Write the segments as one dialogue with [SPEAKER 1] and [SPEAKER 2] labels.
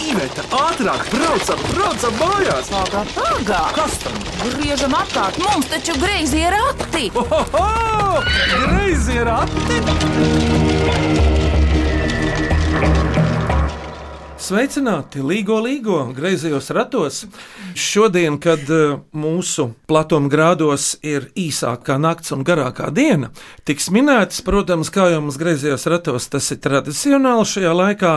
[SPEAKER 1] Iveta, ātrāk, braucam, braucam mājās!
[SPEAKER 2] Pagā, pagā!
[SPEAKER 1] Kas tam?
[SPEAKER 2] Griežam apkārt, mums taču greizi ir akti!
[SPEAKER 1] Ohoho! Greizi ir ati!
[SPEAKER 3] Sveicināti Līgo Līgo griezījos ratos. Šodien, kad eh, mūsu platumgrādos ir īsākā nakts un garākā diena, tiks minēts, protams, kā jau mums griezījos ratos, tas ir tradicionāli šajā laikā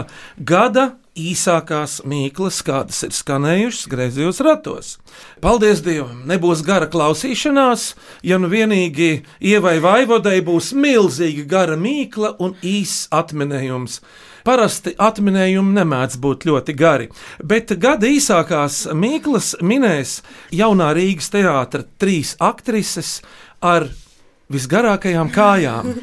[SPEAKER 3] gada īsākās mīklas, kādas ir skanējušas griezījos ratos. Paldies Dievam, nebūs gara klausīšanās, ja nu vienīgi ievai vaivodai būs milzīgi gara mīkla un īss atminējums. Parasti atminējumi nemēdz būt ļoti gari, bet gada īsākās mīklas minēs jaunā Rīgas teātras trīs aktrises ar visgarākajām kājām.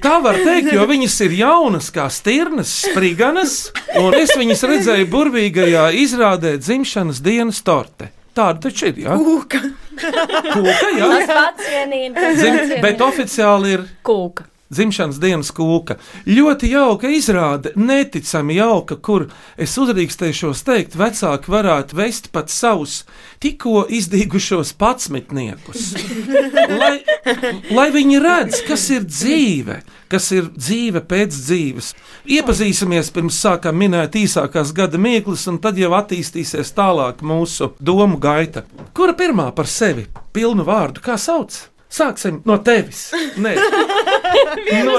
[SPEAKER 3] Tā var teikt, jo viņas ir jaunas, kā stirnas, spriganas, un es viņas redzēju burvīgajā izrādē dzimšanas dienas torte. Tāda taču ir, jā? Kūka. Kūka,
[SPEAKER 4] Tas
[SPEAKER 3] jā.
[SPEAKER 4] pats vienīgais.
[SPEAKER 3] Dzim, bet oficiāli ir
[SPEAKER 2] Kūka!
[SPEAKER 3] dzimšanas dienas kūka. Ļoti jauka izrāde, neticami jauka, kur es uzdrīkstēšos teikt, vecāki varētu vest pat savus tikko izdīgušos patsmetniekus. lai, lai viņi redz, kas ir dzīve, kas ir dzīve pēc dzīves. Iepazīsimies pirms sākam minēt īsākās gada mīklas, un tad jau attīstīsies tālāk mūsu domu gaita. Kura pirmā par sevi? Pilnu vārdu, kā sauc? Sāksim no tevis. Nē, no,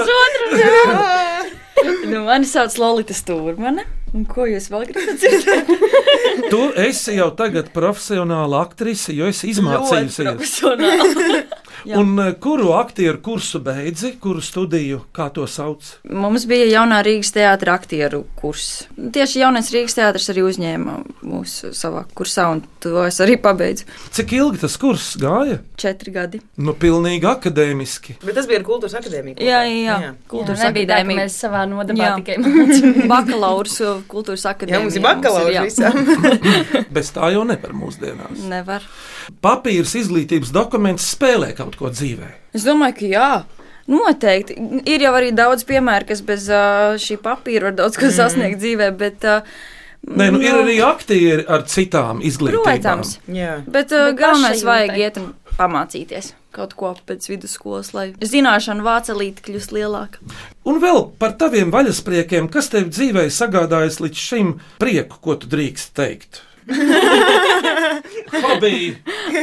[SPEAKER 5] Nu, mani sauc Lorita Stūrmane. Un ko jūs vēl gribat dzirdēt?
[SPEAKER 3] tu esi jau tagad profesionāla aktrise, jo esi izmācījusies.
[SPEAKER 5] profesionāli. jā.
[SPEAKER 3] Un eh, kuru aktieru kursu beidzi, kuru studiju, kā to sauc?
[SPEAKER 5] Mums bija jaunā Rīgas teātris aktieru kurs. Tieši jaunais Rīgas teātris arī uzņēma mūsu savā kursā, un to es arī pabeidzu.
[SPEAKER 3] Cik ilgi tas kurs gāja?
[SPEAKER 5] Četri gadi.
[SPEAKER 3] Nu, pilnīgi akadēmiski.
[SPEAKER 6] Bet tas bija ar kultūras akadēmiju.
[SPEAKER 5] Jā, jā, jā.
[SPEAKER 4] Kultūras nebija tā, ka
[SPEAKER 5] akadēmija.
[SPEAKER 4] mēs savā nodabā
[SPEAKER 5] Jā.
[SPEAKER 4] tikai mācījāmies.
[SPEAKER 5] Bakalaurs uh, kultūras akadēmijā.
[SPEAKER 6] Jā, mums ir
[SPEAKER 5] jā.
[SPEAKER 6] bakalaura visam.
[SPEAKER 3] Bez tā jau nevar mūsdienās.
[SPEAKER 5] Nevar.
[SPEAKER 3] Papīrs izglītības dokuments spēlē kaut ko dzīvē.
[SPEAKER 5] Es domāju, ka jā. Noteikti. Ir jau arī daudz piemēru, kas bez uh, šī papīra var daudz ko sasniegt mm. dzīvē, bet. Uh,
[SPEAKER 3] Nē, nu, ir arī aktieri ar citām izglītībām.
[SPEAKER 5] Protams.
[SPEAKER 6] Jā.
[SPEAKER 5] Bet, bet
[SPEAKER 4] Bet
[SPEAKER 5] galvenais
[SPEAKER 4] pašai
[SPEAKER 5] vajag
[SPEAKER 4] jūtai.
[SPEAKER 5] iet un pamācīties kaut ko pēc vidusskolas, lai zināšanu vācelīte kļūst lielāka.
[SPEAKER 3] Un vēl par taviem vaļaspriekiem, kas tev dzīvē sagādājis līdz šim prieku, ko tu drīkst teikt? Hobija.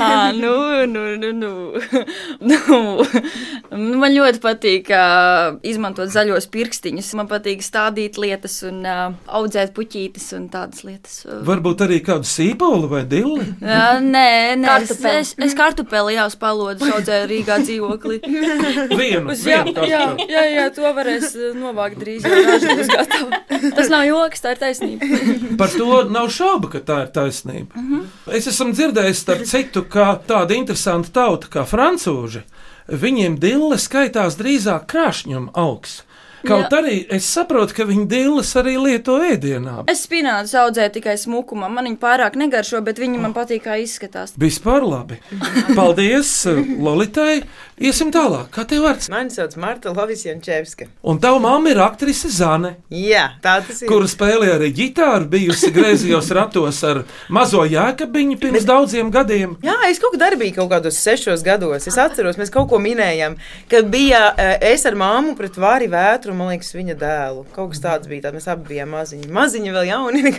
[SPEAKER 5] À, nu, nu, nu, nu. nu. Man ļoti patīk uh, izmantot zaļos pirkstiņus. Man patīk stādīt lietas un uh, audzēt puķītes un tādas lietas. Uh,
[SPEAKER 3] Varbūt arī kādu sīpolu vai dilli.
[SPEAKER 5] nē, nē, es,
[SPEAKER 4] Kartupeli.
[SPEAKER 5] es, es kartupeli jau spēlodu, audzēju Rīgā dzīvoklī.
[SPEAKER 3] Vienu,
[SPEAKER 5] Uz, jā,
[SPEAKER 3] vienu
[SPEAKER 5] jā,
[SPEAKER 3] kārtu.
[SPEAKER 5] jā, jā, to varēs uh, novākt drīz. jau raža būs gatava. Tas nav joks, tā ir taisnība.
[SPEAKER 3] Par to nav šaubu, ka tā ir taisnība. Mm -hmm. Es esmu dzirdējis, starp citu, ka tāda interesanta tauta kā frančūži, viņiem dille skaitās drīzāk krāšņuma augs. Kaut Jā. arī es saprotu, ka viņi dilles arī lieto ēdienā.
[SPEAKER 5] Es spinātu audzēju tikai smukumā. Man viņa pārāk negaršo, bet viņa man patīk, kā izskatās.
[SPEAKER 3] Vispār labi. Paldies, eh, Lolitai. Iesim tālāk, kā tev vārds.
[SPEAKER 6] Mani sauc Marta Lovisjančevska.
[SPEAKER 3] Un tava mamma ir aktrise Zane,
[SPEAKER 6] Jā, tā tas ir.
[SPEAKER 3] kura spēlē arī ģitāru, bijusi griezījos ratos ar mazo jēkabiņu pirms daudziem gadiem.
[SPEAKER 6] Jā, es kaut kādā darbā kaut kādos sešos gados. Es atceros, mēs kaut ko minējām, kad bija eh, es ar māmu pret vāri vētru, un, man liekas, viņa dēlu. Kaut kas tāds bija, tad mēs abi bijām maziņi. Maziņi vēl jauni.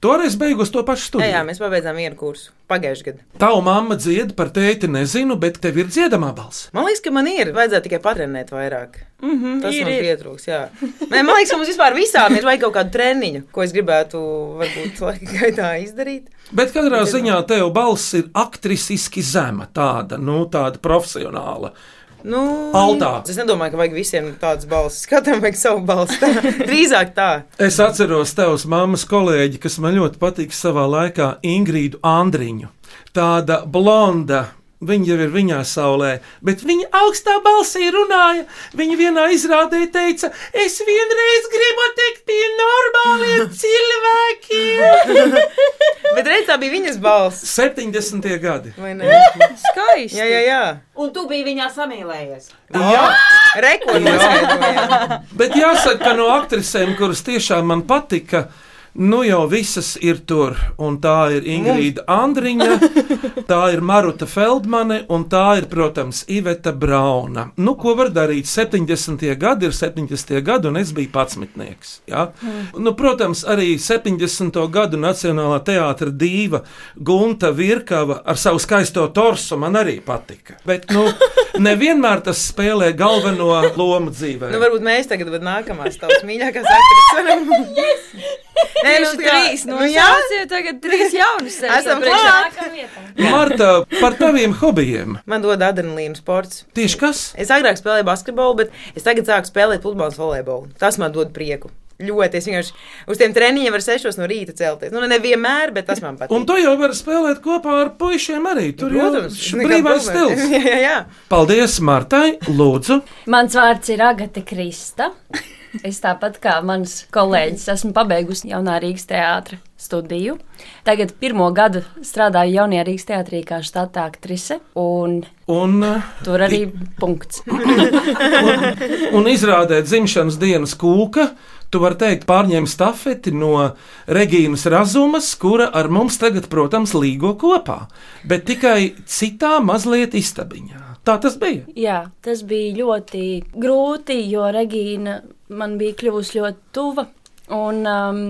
[SPEAKER 3] Toreiz beigus to pašu
[SPEAKER 6] jā,
[SPEAKER 3] studiju.
[SPEAKER 6] jā, mēs pabeidzām vienu kursu pagājušajā gadā.
[SPEAKER 3] Tava mamma dzied par tēti, nezinu, bet tev ir dziedamā balss.
[SPEAKER 6] Man liekas, ka man ir. Vajadzētu tikai patrenēt vairāk. Mm -hmm, tas
[SPEAKER 5] Mhm, ir,
[SPEAKER 6] ir
[SPEAKER 5] ir.
[SPEAKER 6] pietrūks. Jā, Nē, man liekas, ka mums vispār visām ir vajag kaut kādu treniņu, ko es gribētu varbūt laika gaitā izdarīt.
[SPEAKER 3] Bet katrā ziņā tev balss ir aktrisiski zema, tāda, nu, tāda profesionāla.
[SPEAKER 6] Nu,
[SPEAKER 3] Altā.
[SPEAKER 6] Es nedomāju, ka vajag visiem tādas balss. Katram vajag savu balss. Tā, drīzāk tā.
[SPEAKER 3] Es atceros tevs mammas kolēģi, kas man ļoti patīk savā laikā, Ingrīdu Andriņu. Tāda blonda. Viņa jau ir viņā saulē, bet viņa augstā balsī runāja. Viņa vienā izrādē teica, es vienreiz gribu tikt pie normāliem cilvēkiem.
[SPEAKER 6] Bet reizē tā bija viņas balss.
[SPEAKER 3] 70. gadi.
[SPEAKER 6] Vai ne?
[SPEAKER 5] Skaisti.
[SPEAKER 6] Jā, jā, jā.
[SPEAKER 7] Un tu biji viņā samīlējies.
[SPEAKER 3] Jā,
[SPEAKER 6] Rekords.
[SPEAKER 3] Bet jāsaka, ka no aktrisēm, kuras tiešām man patika, Nu jau visas ir tur, un tā ir Ingrīda Andriņa, tā ir Maruta Feldmane, un tā ir, protams, Iveta Brauna. Nu, ko var darīt? 70. gadi ir 70. gadi, un es biju patsmitnieks. Ja? Nu, protams, arī 70. gadu Nacionālā teātra dīva Gunta Virkava ar savu skaisto torsu man arī patika. Bet, nu, nevienmēr tas spēlē galveno lomu dzīvē.
[SPEAKER 6] Nu, varbūt mēs tagad, bet nākamās tavas mīļākās aktrises varam. Nē,
[SPEAKER 5] Tieši trīs, nu jā, tagad trīs jaunus
[SPEAKER 6] Esam klāt.
[SPEAKER 3] Marta, par taviem hobijiem.
[SPEAKER 6] Man dod adrenalīnu sports.
[SPEAKER 3] Tieši kas?
[SPEAKER 6] Es agrāk spēlēju basketbolu, bet es tagad sāku spēlēt futbolu, volejbolu. Tas man dod prieku. Ļoti es vienkārši uz tiem treniņiem varu sešos no rīta celties. Nu, nevienmēr, bet tas man patīk.
[SPEAKER 3] Un to jau var spēlēt kopā ar puikiem arī. Tur jau ir
[SPEAKER 6] nekā
[SPEAKER 3] brīvais
[SPEAKER 6] problēma.
[SPEAKER 3] stils.
[SPEAKER 6] jā, jā, jā.
[SPEAKER 3] Paldies, Martai! Lūdzu,
[SPEAKER 4] Mans vārds ir Agata Krista. Es tāpat kā mans kolēģis esmu pabeigusi Jaunā Rīgas teātra studiju. Tagad pirmo gadu strādāju Jaunajā Rīgas teātrī kā štāta aktrise, un
[SPEAKER 3] un, eh,
[SPEAKER 4] tur arī punkts.
[SPEAKER 3] un izrādē dzimšanas dienas kūka. Tu vari teikt, pārņem stafeti no Regīnas Razumas, kura ar mums tagad, protams, līgo kopā, bet tikai citā mazliet istabiņā. Tā tas bija.
[SPEAKER 4] Jā, tas bija ļoti grūti, jo Regīna man bija kļuvusi ļoti tuva. Un, um,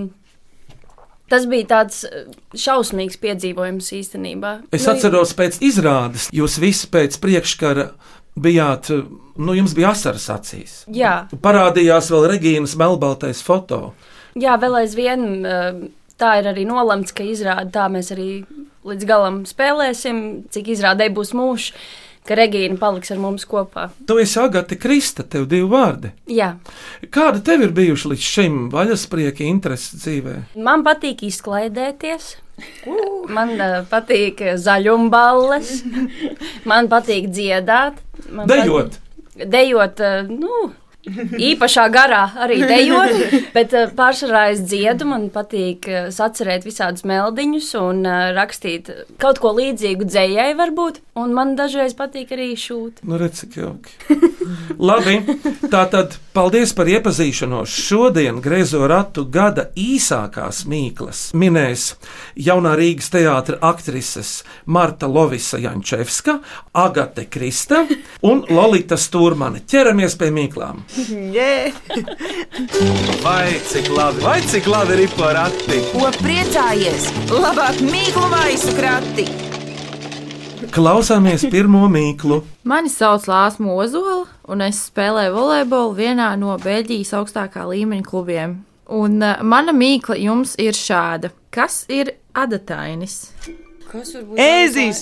[SPEAKER 4] tas bija tāds eh, šausmīgs piedzīvojums īstenībā.
[SPEAKER 3] Es
[SPEAKER 4] Nu,
[SPEAKER 3] atceros, pēc izrādes jūs visi pēc priekškara bijāt, eh, nu, jums bija asaras acīs.
[SPEAKER 4] Jā,
[SPEAKER 3] Parādījās vēl Regīnas melnbaltais foto.
[SPEAKER 4] jā, vēl aizvien eh, tā ir arī nolemts, ka izrādi tā mēs arī līdz galam spēlēsim, cik izrādēji būs mūžs, ka Regīna paliks ar mums kopā.
[SPEAKER 3] Tu esi Agate Krista, tev divi vārdi.
[SPEAKER 4] Jā.
[SPEAKER 3] Kāda tev ir bijuši līdz šim vaļasprieka interese dzīvē?
[SPEAKER 4] Man patīk izklaidēties. Man uh, patīk eh, zaļumballes. Man patīk dziedāt. Man
[SPEAKER 3] Dejot!
[SPEAKER 4] Patīk, dejot, eh, nu, īpašā garā arī dejot. Bet eh, pārsvarā es dziedu. Man patīk eh, sacerēt visādus meldiņus un eh, rakstīt kaut ko līdzīgu dzējai varbūt. Un man dažreiz patīk arī šūt.
[SPEAKER 3] Nu, redz, cik jauki. Labi, tā tad paldies par iepazīšanos. Šodien Grēzo ratu gada īsākās mīklas minēs jaunā Rīgas teātras aktrises Marta Lovisa Jančevska, Agate Krista un Lolita Stūrmane. Ķeramies pie mīklām!
[SPEAKER 1] Vai cik labi, vai cik labi ir porati?
[SPEAKER 2] Ko priecājies? Labāk mīklu maisu krati!
[SPEAKER 3] Klausāmies pirmo mīklu!
[SPEAKER 8] Mani sauc Lārs Mozola, un es spēlēju volejbolu vienā no Beļģijas augstākā līmeņa klubiem. Un uh, mana mīkla jums ir šāda. Kas ir adatainis?
[SPEAKER 6] Ēzis!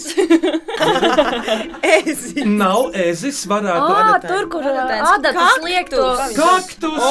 [SPEAKER 6] Ēzis!
[SPEAKER 3] Nav ezis, varētu būt.
[SPEAKER 4] Ah, tur, kur adatas liek to
[SPEAKER 3] Kaktus!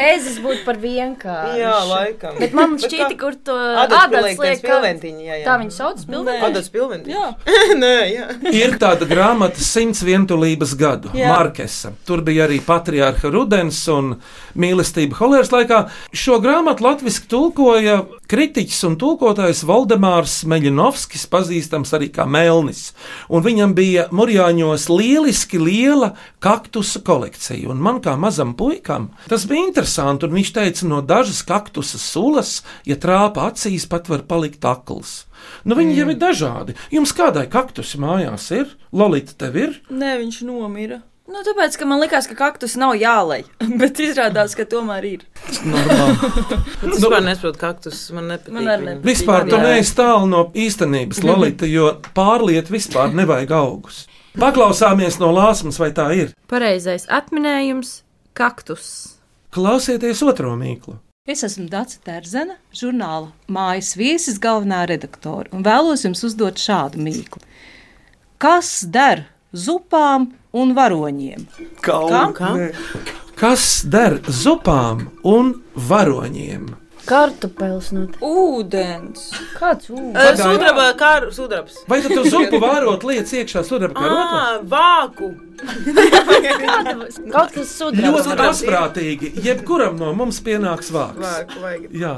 [SPEAKER 4] ezis būtu par vienkārši.
[SPEAKER 6] Jā, laikam.
[SPEAKER 4] Bet man šķiet, kur to
[SPEAKER 6] Ādams liekas
[SPEAKER 4] ka-
[SPEAKER 6] pilventiņi, jā, jā.
[SPEAKER 4] Tā viņa sauc, pilventiņa.
[SPEAKER 6] Ādams pilventiņi. Jā. Nē, jā.
[SPEAKER 3] Ir tāda grāmata, 100 vientulības gadu, Markesa. Tur bija arī patriārha Rudens un mīlestība holēras laikā. Šo grāmatu latviešu tulkoja kritiķis un tulkotājs Valdemārs Meļinovskis, pazīstams arī kā Melnis. Un viņam bija Mūrjāņos lieliski liela kaktusu kolekcija. Un man kā mazam puikam tas bija interesanti. Un viņš teica, no dažas kaktusa sulas, ja trāpa acīs, pat var palikt akls. Nu, viņi mm. jau ir dažādi. Jums kādai kaktus mājās ir? Lolita, tev ir?
[SPEAKER 5] Nē, viņš nomira. Nu, tāpēc, ka man likās, ka kaktus nav jālai, bet izrādās, ka tomēr ir.
[SPEAKER 3] Normāli.
[SPEAKER 6] Es vispār nesaprotu kaktus, man nepatīk.
[SPEAKER 5] Man arī
[SPEAKER 6] viņi.
[SPEAKER 5] nepatīk.
[SPEAKER 3] Vispār tu
[SPEAKER 5] Jā.
[SPEAKER 3] neesi tālu no īstenības, Lolita, jo pārliet vispār nevajag augus. Paklausāmies no lāsmas, vai tā ir.
[SPEAKER 8] Pareizais atminējums - kaktus.
[SPEAKER 3] Klausieties otro mīklu.
[SPEAKER 9] Es esmu Dārsa Terzena, žurnāla mājas viesis, galvenā redaktore, un vēlos jums uzdot šādu mīklu. Kas der zupām un varoņiem?
[SPEAKER 1] Kaut kā.
[SPEAKER 3] Kas der zupām un varoņiem?
[SPEAKER 4] Kartupēlis no tā.
[SPEAKER 5] Ūdens.
[SPEAKER 4] Kāds ūdens?
[SPEAKER 6] Ē, Sudraba, kā sudrabs.
[SPEAKER 3] Vai tad tu zupu vārot lietas iekšā sudrabkarotā?
[SPEAKER 6] Ā, Vāku!
[SPEAKER 4] Kaut kas sudraba.
[SPEAKER 3] Ļoti prasprātīgi. Jebkuram no mums pienāks vārds.
[SPEAKER 6] Vāku vajag.
[SPEAKER 3] Jā,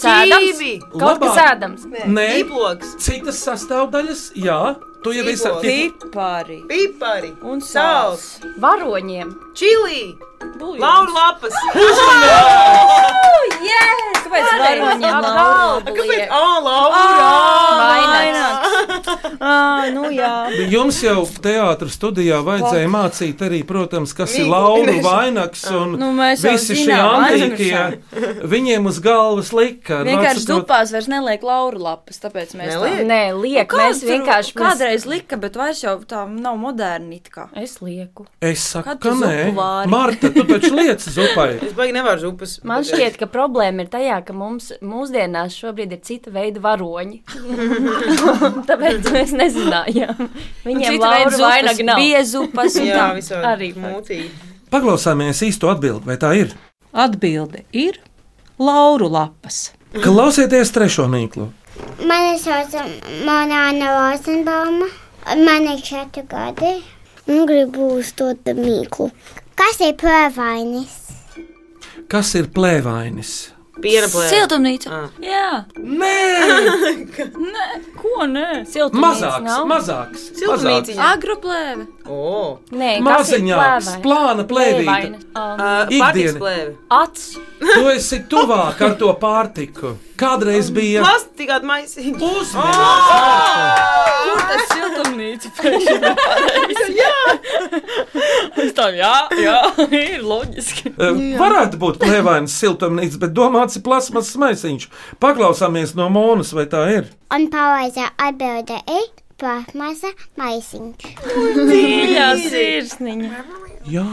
[SPEAKER 4] Cēdams?
[SPEAKER 6] Cīvi!
[SPEAKER 4] Kaut kas
[SPEAKER 3] Labāk.
[SPEAKER 4] ēdams.
[SPEAKER 3] nē.
[SPEAKER 6] Īploks!
[SPEAKER 3] Citas sastāvdaļas, jā, Tu jau esi ar tiem
[SPEAKER 9] Pipari.
[SPEAKER 6] Pipari,
[SPEAKER 9] Un
[SPEAKER 6] sāls,
[SPEAKER 4] Varoņiem.
[SPEAKER 6] čili,
[SPEAKER 9] Buļbuļs.
[SPEAKER 6] lauru lapas.
[SPEAKER 5] Oh,
[SPEAKER 4] Kāpēc varoņiem?
[SPEAKER 6] Kāpēc? Ā, laura!
[SPEAKER 4] Vainaks.
[SPEAKER 5] Ah, nu jā.
[SPEAKER 3] Jums jau teātris studijā vajadzēja mācīt arī, protams, kas ir
[SPEAKER 6] Mīklu
[SPEAKER 3] lauru
[SPEAKER 6] minēšana.
[SPEAKER 3] vainags un
[SPEAKER 5] Nu, mēs jau
[SPEAKER 3] visi šie
[SPEAKER 5] zinām,
[SPEAKER 3] antīkie. Viņiem uz galvas lika. ar
[SPEAKER 5] Vienkārši
[SPEAKER 3] vārdu sakot,
[SPEAKER 5] dupās vairs neliek lauru lapas, tāpēc mēs
[SPEAKER 6] Neliek?
[SPEAKER 4] Nē, liek, mēs Nu,
[SPEAKER 5] Kāds tur-
[SPEAKER 4] vienkārši.
[SPEAKER 5] Kādreiz lika, bet vairs jau tā nav moderni it kā.
[SPEAKER 4] Es lieku.
[SPEAKER 3] Es saku,
[SPEAKER 5] Kad tu
[SPEAKER 3] ka nē,
[SPEAKER 5] zupu vāri?
[SPEAKER 3] Marta, tu taču lieci zupai.
[SPEAKER 6] Es baigi nevaru župas.
[SPEAKER 4] Man šķiet, ka problēma ir tajā, ka mums mūsdienās šobrīd ir cita veida varoņi. Tāpēc mēs nezinājām. Viņiem
[SPEAKER 5] Cita veida
[SPEAKER 4] lauru
[SPEAKER 5] zupas,
[SPEAKER 4] vainagi nav.
[SPEAKER 5] Biezupas un
[SPEAKER 6] Jā,
[SPEAKER 5] tā.
[SPEAKER 6] visādi
[SPEAKER 4] arī var.
[SPEAKER 6] mūtīgi.
[SPEAKER 3] Paklausāmies īsto atbildi, vai tā ir?
[SPEAKER 9] Atbilde ir lauru lapas.
[SPEAKER 3] Klausieties trešo mīklu.
[SPEAKER 10] Mani sauc Monēna Rozenbauma, man ir četri gadi un gribu uzdot mīklu. Kas ir pēvainis?
[SPEAKER 3] Kas ir plēvainis?
[SPEAKER 6] Piena plēve.
[SPEAKER 4] Ah.
[SPEAKER 5] Siltumnīca. Jā.
[SPEAKER 3] Nē,
[SPEAKER 5] Ko nē?
[SPEAKER 3] mazāks, mazāks. mazāks. Mm.
[SPEAKER 6] Siltumnīciņa.
[SPEAKER 5] Agroplēve.
[SPEAKER 4] Ah.
[SPEAKER 6] O,
[SPEAKER 4] Nē, kas ir
[SPEAKER 3] Maziņāks,
[SPEAKER 4] plēvaini?
[SPEAKER 3] plāna plēvīte.
[SPEAKER 4] Plēvaini. Ā,
[SPEAKER 6] pārtiks
[SPEAKER 3] Ikdiena.
[SPEAKER 6] plēve.
[SPEAKER 4] Acs.
[SPEAKER 3] Tu esi tuvāk ar to pārtiku. Kādreiz bija
[SPEAKER 6] Plastikā maisiņa. Ah.
[SPEAKER 3] uzmanīgs.
[SPEAKER 5] Kur tas siltumnīca pēkšņi? Jā. Tā, jā, jā, ir loģiski.
[SPEAKER 3] eh, Varētu būt plēvains siltumnīca, bet domāts ir plasmas smaisiņš. Paklausāmies no Monas, vai tā ir.
[SPEAKER 10] Un pareizā atbilde ir plasmasa maisiņš.
[SPEAKER 5] Jā, sirsniņa.
[SPEAKER 3] Jā.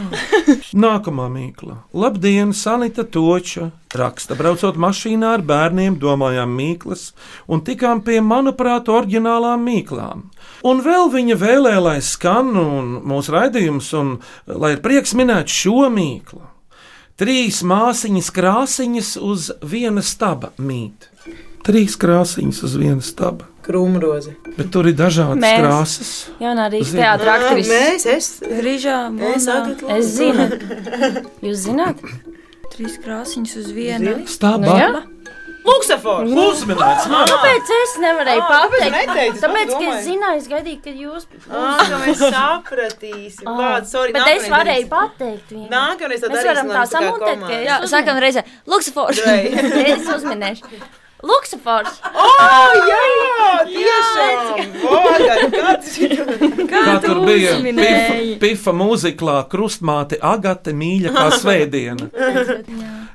[SPEAKER 3] Nākamā mīkla. Labdien, Sanita Toča. Raksta, braucot mašīnā ar bērniem, domājām mīklas un tikām pie, manuprāt, oriģinālām mīklām. Un vēl viņa vēlēja, lai skan un mūsu raidījums, un lai ir prieks minēt šo mīklu. Trīs māsiņas krāsiņas uz viena staba mīt. Trīs krāsiņas uz viena staba.
[SPEAKER 6] Krūmroze.
[SPEAKER 3] Bet tur ir dažādas
[SPEAKER 4] Mēs.
[SPEAKER 3] Mēs. krāsas.
[SPEAKER 4] Jaunā Rīgas
[SPEAKER 3] Zinu.
[SPEAKER 4] teātra aktrise.
[SPEAKER 6] Mēs, es.
[SPEAKER 5] Rīžā,
[SPEAKER 6] Es
[SPEAKER 5] monā,
[SPEAKER 6] atklāju.
[SPEAKER 4] Es zinu. Jūs zināt?
[SPEAKER 5] trīs krāsiņas uz vienu.
[SPEAKER 3] Stabā.
[SPEAKER 4] Nu, jā.
[SPEAKER 6] Luksafors.
[SPEAKER 3] Uzmanīts, man!
[SPEAKER 4] Tāpēc es nevarēju
[SPEAKER 6] Ā, tāpēc
[SPEAKER 4] pateikt.
[SPEAKER 6] neteici, es
[SPEAKER 4] Tāpēc, ka
[SPEAKER 6] domāju.
[SPEAKER 4] es zināju, es gaidīju, ka jūs.
[SPEAKER 6] Ah, ka mēs sapratīsim. Vārds, sorry,
[SPEAKER 4] Ah. Bet es
[SPEAKER 6] nākamreiz
[SPEAKER 4] varēju
[SPEAKER 6] darīsim.
[SPEAKER 4] pateikt. vienkārši.
[SPEAKER 6] Nākamreiz tad
[SPEAKER 4] Mēs varam tā samontēt, ka
[SPEAKER 6] ka...
[SPEAKER 5] Jā, sākam reizē. Luksafors.
[SPEAKER 4] es uzminēšu. Luksafors.
[SPEAKER 6] Oh, Jā, tiešām. Vārds, kāds ir?
[SPEAKER 3] Kā tur bija pifa,
[SPEAKER 5] uzminēji?
[SPEAKER 3] pifa mūziklā, krustmāte Agate mīļa kā svētdiena.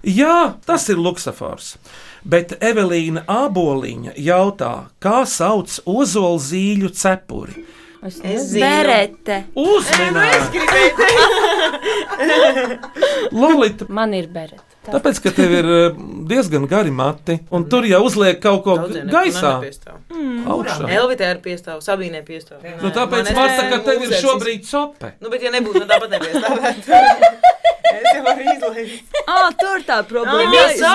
[SPEAKER 3] Jā, tas ir luksafors. Bet Evelīna Aboliņa jautā, kā sauc ozolzīļu cepuri.
[SPEAKER 6] Es
[SPEAKER 5] Berete.
[SPEAKER 3] Uzmanīgi! Lolita!
[SPEAKER 4] Man ir berets.
[SPEAKER 3] Tāpēc, ka tev ir eh, diezgan gari mati, un tur jau uzliek kaut ko gaisā, augšā.
[SPEAKER 6] Elvita ir piestāv, Sabīne piestāv.
[SPEAKER 3] Nu, tāpēc, Marta, ka tev ir šobrīd cope.
[SPEAKER 6] Nu, bet ja nebūtu, tad tāpat nepiestāvētu. Es jau varu izlaist.
[SPEAKER 5] Ah, tur tā problēma.
[SPEAKER 6] Jā,
[SPEAKER 5] Jā,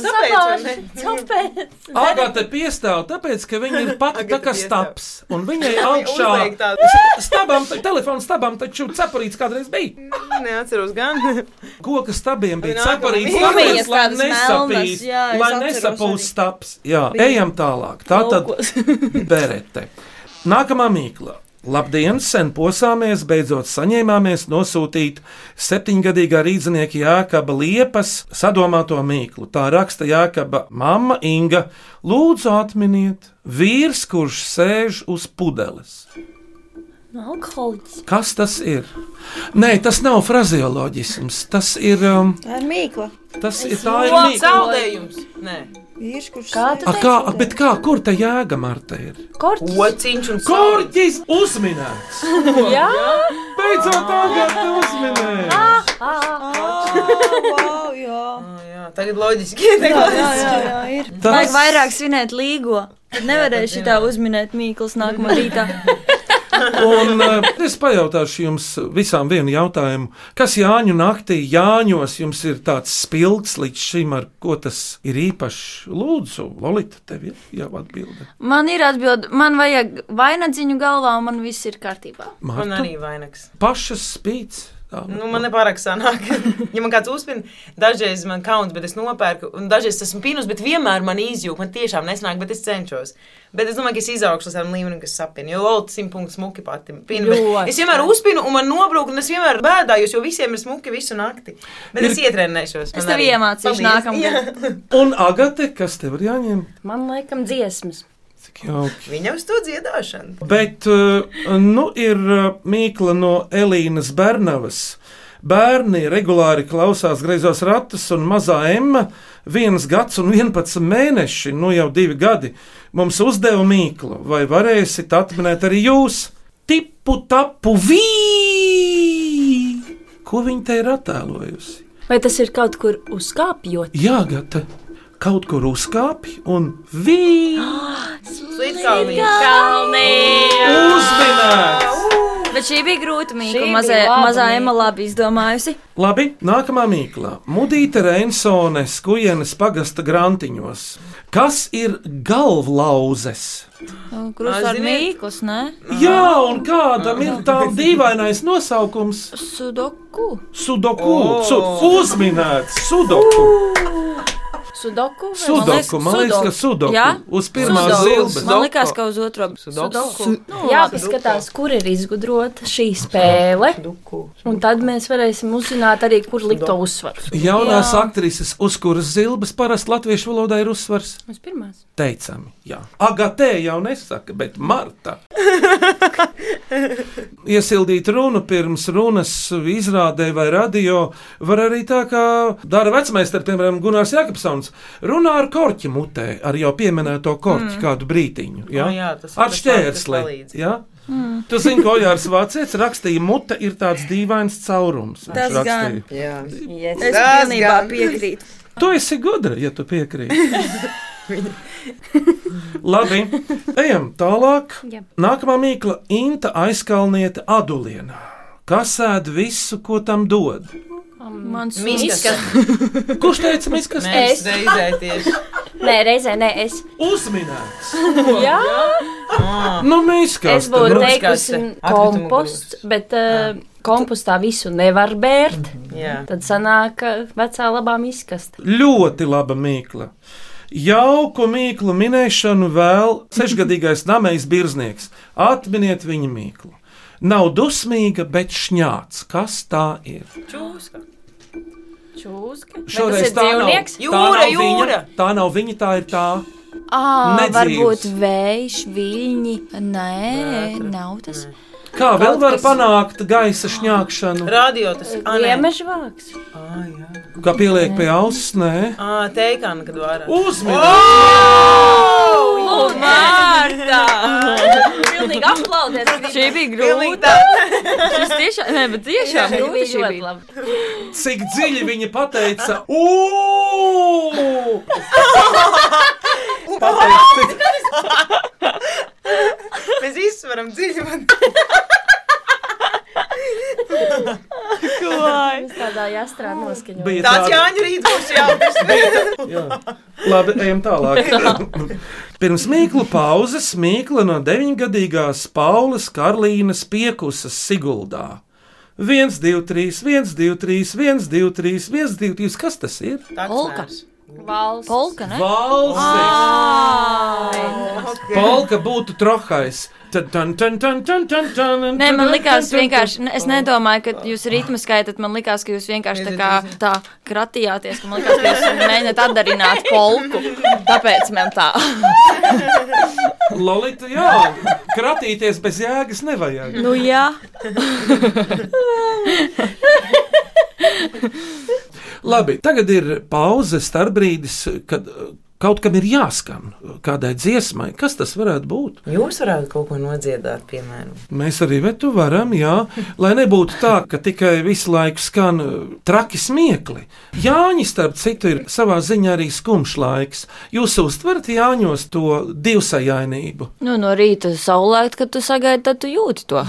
[SPEAKER 6] sapratu, tāpēc. vai ne?
[SPEAKER 3] Agate piestāv, tāpēc, ka viņa ir pati tā
[SPEAKER 6] Agata
[SPEAKER 3] kā
[SPEAKER 6] piestāv.
[SPEAKER 3] stāps. Un viņai augšā
[SPEAKER 6] Uzliek tādu.
[SPEAKER 3] S- stabam, t- telefona stabam taču cepurīts kādreiz bija.
[SPEAKER 6] Neatceros gan.
[SPEAKER 3] Koka stabiem bija
[SPEAKER 6] Nākamā
[SPEAKER 3] cepurīts,
[SPEAKER 6] mīkla.
[SPEAKER 3] tāpēc,
[SPEAKER 5] Gumijas
[SPEAKER 3] lai
[SPEAKER 5] tādas melnas,
[SPEAKER 3] nesapīst,
[SPEAKER 5] jā, es
[SPEAKER 3] lai
[SPEAKER 5] atceros arī.
[SPEAKER 3] nesapūst stabs. Jā, ejam tālāk. Tā tad berete. Nākamā mīkla. Labdien, sen posāmies, beidzot saņēmāmies nosūtīt septiņgadīgā rīznieka Jākaba liepas sadomāto mīklu. Tā raksta Jākaba mamma Inga. Lūdzu, atminiet, vīrs, kurš sēž uz pudeles.
[SPEAKER 4] Nu, Alkoholiķis.
[SPEAKER 3] Kas tas ir? Nē, tas nav frazeoloģisms. Tas ir. Um,
[SPEAKER 5] tā ir mīkla.
[SPEAKER 3] tas ir tā ir mīkla.
[SPEAKER 6] Zaudējums. Nē.
[SPEAKER 5] Vīrs, kurš
[SPEAKER 4] Kā tu
[SPEAKER 3] A, kā, a, bet kā, kur tā jēga, Marta, ir?
[SPEAKER 4] Korķis.
[SPEAKER 6] Pociņš un
[SPEAKER 3] Korķis uzminēts!
[SPEAKER 4] Jā.
[SPEAKER 3] Beidzot, Agata uzminēja!
[SPEAKER 5] Ah! wow, jā.
[SPEAKER 6] Ah, jā, Tagad loģiski. Tagad
[SPEAKER 5] Jā, jā, jā, ir.
[SPEAKER 3] Tas-
[SPEAKER 5] Vajag vairāk svinēt līgo. Tad nevarēšu tā uzminēt mīklas nākamā rītā.
[SPEAKER 3] Un eh, es pajautāšu jums visām vienu jautājumu. Kas Jāņu naktī, Jāņos, jums ir tāds spilgts līdz šim, ar ko tas ir īpašs? Lūdzu, Lolita, tev ir jau atbilde.
[SPEAKER 5] Man ir atbilde, man vajag vainadziņu galvā, un man viss ir kārtībā.
[SPEAKER 6] Man
[SPEAKER 3] Marta,
[SPEAKER 6] arī vainags.
[SPEAKER 3] pašas spīts. Tā,
[SPEAKER 6] Nu, man nepārāk sanāk. ja man kāds uzspīd, dažreiz man kauns, bet es nopērku, un dažreiz esmu pinus, bet vienmēr man izjūta. Man tiešām nesanāk, bet es cenšos. Bet es domāju, ka es izaugšu ar līmeni, kas sapņo. Jo Lotte simt punktu smuki pati. Pinu,
[SPEAKER 2] Ļoti.
[SPEAKER 6] es vienmēr uzspīdu, un man nobrūk, un es vienmēr bēdājos, jo visiem ir smuki visu nakti. Bet es ietrenēšos.
[SPEAKER 5] Es tev iemācīšu nākamgad.
[SPEAKER 3] Un Agate, kas tev ir jāņem?
[SPEAKER 4] Man liekas, dziesmas.
[SPEAKER 3] Tik jauki.
[SPEAKER 6] Viņam uz to dziedāšanu.
[SPEAKER 3] Bet uh, nu ir uh, mīkla no Elīnas Bernavas. Bērni regulāri klausās greizos ratus, un mazā Emma, viens gads un 11 mēneši, nu jau divi gadi, mums uzdeva mīklu, vai varēsit atminēt arī jūs tipu tapu vī! Ko viņa te ir attēlojusi?
[SPEAKER 4] Vai tas ir kaut kur uzkāpjot?
[SPEAKER 3] Jā, gata, kaut kur uzkāpj un vī!
[SPEAKER 6] Slidkalnī.
[SPEAKER 3] Uzminēt!
[SPEAKER 5] Bet šī bija grūta mīkla.
[SPEAKER 4] Šī
[SPEAKER 5] Mazā,
[SPEAKER 4] bija laba
[SPEAKER 5] mazā
[SPEAKER 4] mīkla.
[SPEAKER 5] Emma labi izdomājusi.
[SPEAKER 3] Labi, nākamā mīkla. Mudita Reinsone, skujienes pagasta grantiņos. Kas ir galvlauzes?
[SPEAKER 5] Krusts ar mīklas, ne?
[SPEAKER 3] Jā, un kādam ir tāds dīvainais nosaukums?
[SPEAKER 5] Sudoku.
[SPEAKER 3] Sudoku, su, uzminēts, sudoku,
[SPEAKER 5] Sudoku. vai- Man liekas,
[SPEAKER 3] sudoku. Man liekas, ka sudoku
[SPEAKER 5] Jā?
[SPEAKER 3] uz pirmā
[SPEAKER 5] Sudoku.
[SPEAKER 3] zilbes.
[SPEAKER 5] Man liekas, ka uz otro Nu,
[SPEAKER 6] Sudoku.
[SPEAKER 4] Jā, paskatās, kur ir izgudrota šī spēle. Un tad mēs varēsim uzzināt arī, kur likt to uzsvaru.
[SPEAKER 3] Jaunās aktrises, uz kuras zilbes parasti latviešu valodā ir uzsvars,
[SPEAKER 4] Mums pirmās.
[SPEAKER 3] teicami. Jā. Agatē jau nesaka, bet Marta. Iesildīt runu pirms runas izrādē vai radio var arī tā, kā dara vecmeistars, piemēram, Gunārs Jākapsons. Runā ar korķi mutē, ar jau pieminēto korķi mm. kādu brītiņu. Jā,
[SPEAKER 6] O, Oh, jā, tas ir
[SPEAKER 3] ar
[SPEAKER 6] tas
[SPEAKER 3] šķērsli.
[SPEAKER 6] palīdz.
[SPEAKER 3] jā? Mm. Tu zini, ko Jārs Vācēts rakstīja, mute ir tāds dīvains caurums. viņš
[SPEAKER 5] Tas gan.
[SPEAKER 3] rakstīja.
[SPEAKER 6] Jā,
[SPEAKER 5] Nu, Es
[SPEAKER 6] Tas
[SPEAKER 5] pilnībā
[SPEAKER 6] gan.
[SPEAKER 5] piekrītu.
[SPEAKER 3] Tu esi gudra, ja tu piekrīti. Labi, ejam tālāk.
[SPEAKER 4] Jā.
[SPEAKER 3] Nākamā mīkla - Inta aizkalniete Adulienā. Kas sēž visu, ko tam dod?
[SPEAKER 5] Mans
[SPEAKER 6] Miskas.
[SPEAKER 3] Kurš teica, mēs kas
[SPEAKER 6] Mēs reizē tieši.
[SPEAKER 4] Nē, reizē nē, es.
[SPEAKER 3] uzminēts?
[SPEAKER 4] Jā,
[SPEAKER 3] Nu, mēs
[SPEAKER 4] Ah. es
[SPEAKER 3] kas
[SPEAKER 4] būtu
[SPEAKER 3] tad? Nu,
[SPEAKER 4] teikusi
[SPEAKER 6] Atkritumu
[SPEAKER 4] komposts, bet uh, kompostā visu nevar bērt.
[SPEAKER 3] Mhm.
[SPEAKER 6] Jā.
[SPEAKER 4] Tad sanāk eh, vecā labā izkasta.
[SPEAKER 3] Ļoti laba mīkla. Jauku mīklu minēšanu vēl sešgadīgais namējs Birznieks. Atminiet viņa mīklu. Nav dusmīga, bet šņāts. Kas tā ir?
[SPEAKER 6] Čūska.
[SPEAKER 4] Čūska.
[SPEAKER 3] Šoreiz tā nav,
[SPEAKER 4] dzīvnieks?
[SPEAKER 3] tā nav
[SPEAKER 6] Jūra,
[SPEAKER 3] viņa.
[SPEAKER 6] jūra!
[SPEAKER 3] Tā nav viņa, tā ir tā.
[SPEAKER 5] Ah,
[SPEAKER 3] Nedzīvs.
[SPEAKER 5] varbūt vējš, viļņi. Nē, nav tas.
[SPEAKER 3] Kā vēl var
[SPEAKER 5] kas-
[SPEAKER 3] panākt gaisa šņākšanu?
[SPEAKER 6] Radio tas ir. Ā, nē.
[SPEAKER 4] Ziemežvāks.
[SPEAKER 6] Ā, jā.
[SPEAKER 3] Kā pieliek pie auss, nē.
[SPEAKER 6] Ā, teikāna, kad vārā.
[SPEAKER 3] Uzmanīgi!
[SPEAKER 4] Pilnīgi aplaudies.
[SPEAKER 5] Šī bija grūta. Šis tiešām, nē, bet tiešām grūta šī
[SPEAKER 4] ļoti
[SPEAKER 5] bija.
[SPEAKER 4] labi.
[SPEAKER 3] Cik dziļi viņa pateica? "Ū!"
[SPEAKER 6] Mēs izsveram dziļi. Man.
[SPEAKER 4] Mēs tādā jāstrā noskaņā.
[SPEAKER 3] Bija
[SPEAKER 6] Tāds
[SPEAKER 3] tāda-
[SPEAKER 6] Jāņa rīt būs jāatcerās.
[SPEAKER 3] Jā. Labi, ejam tālāk. Pirms mīklu pauzes mīkla no 9-gadīgās Paulas Karlīnas piekusas Siguldā. 1, 2, 3, 1, 2, 3, 1, 2, 3, 1, 2, 3. Kas tas ir?
[SPEAKER 5] Olga.
[SPEAKER 4] Valsts.
[SPEAKER 5] Polka, ne?
[SPEAKER 3] Valsts!
[SPEAKER 5] Ah.
[SPEAKER 3] Polka būtu trohais. Tad, tad, tad, tad, tad, tad, tad.
[SPEAKER 5] Nē, man likās vienkārši, ne- es nedomāju, ka jūs ritmu skaitat, man likās, ka jūs vienkārši tā kā tā kratījāties, ka man likās, ka jūs mēģināt atdarināt polku. Tāpēc man tā.
[SPEAKER 3] Lolita, jā, kratīties bez jēgas nevajag.
[SPEAKER 5] Nu jā,
[SPEAKER 3] Labi, tagad ir pauze, starpbrīdis, kad uh, kaut kam ir jāskan uh, kādai dziesmai. Kas tas varētu būt?
[SPEAKER 6] Jūs varētu kaut ko nodziedāt, piemēram.
[SPEAKER 3] Mēs arī vetu varam, jā, lai nebūtu tā, ka tikai visu laiku skan uh, traki smiekli. Jāņi, starp citu, ir savā ziņā arī skumjš laiks. Jūs uztverat Jāņos to divsajainību.
[SPEAKER 5] nu no rīta saulēt, kad tu sagaidi, tad tu jūti to.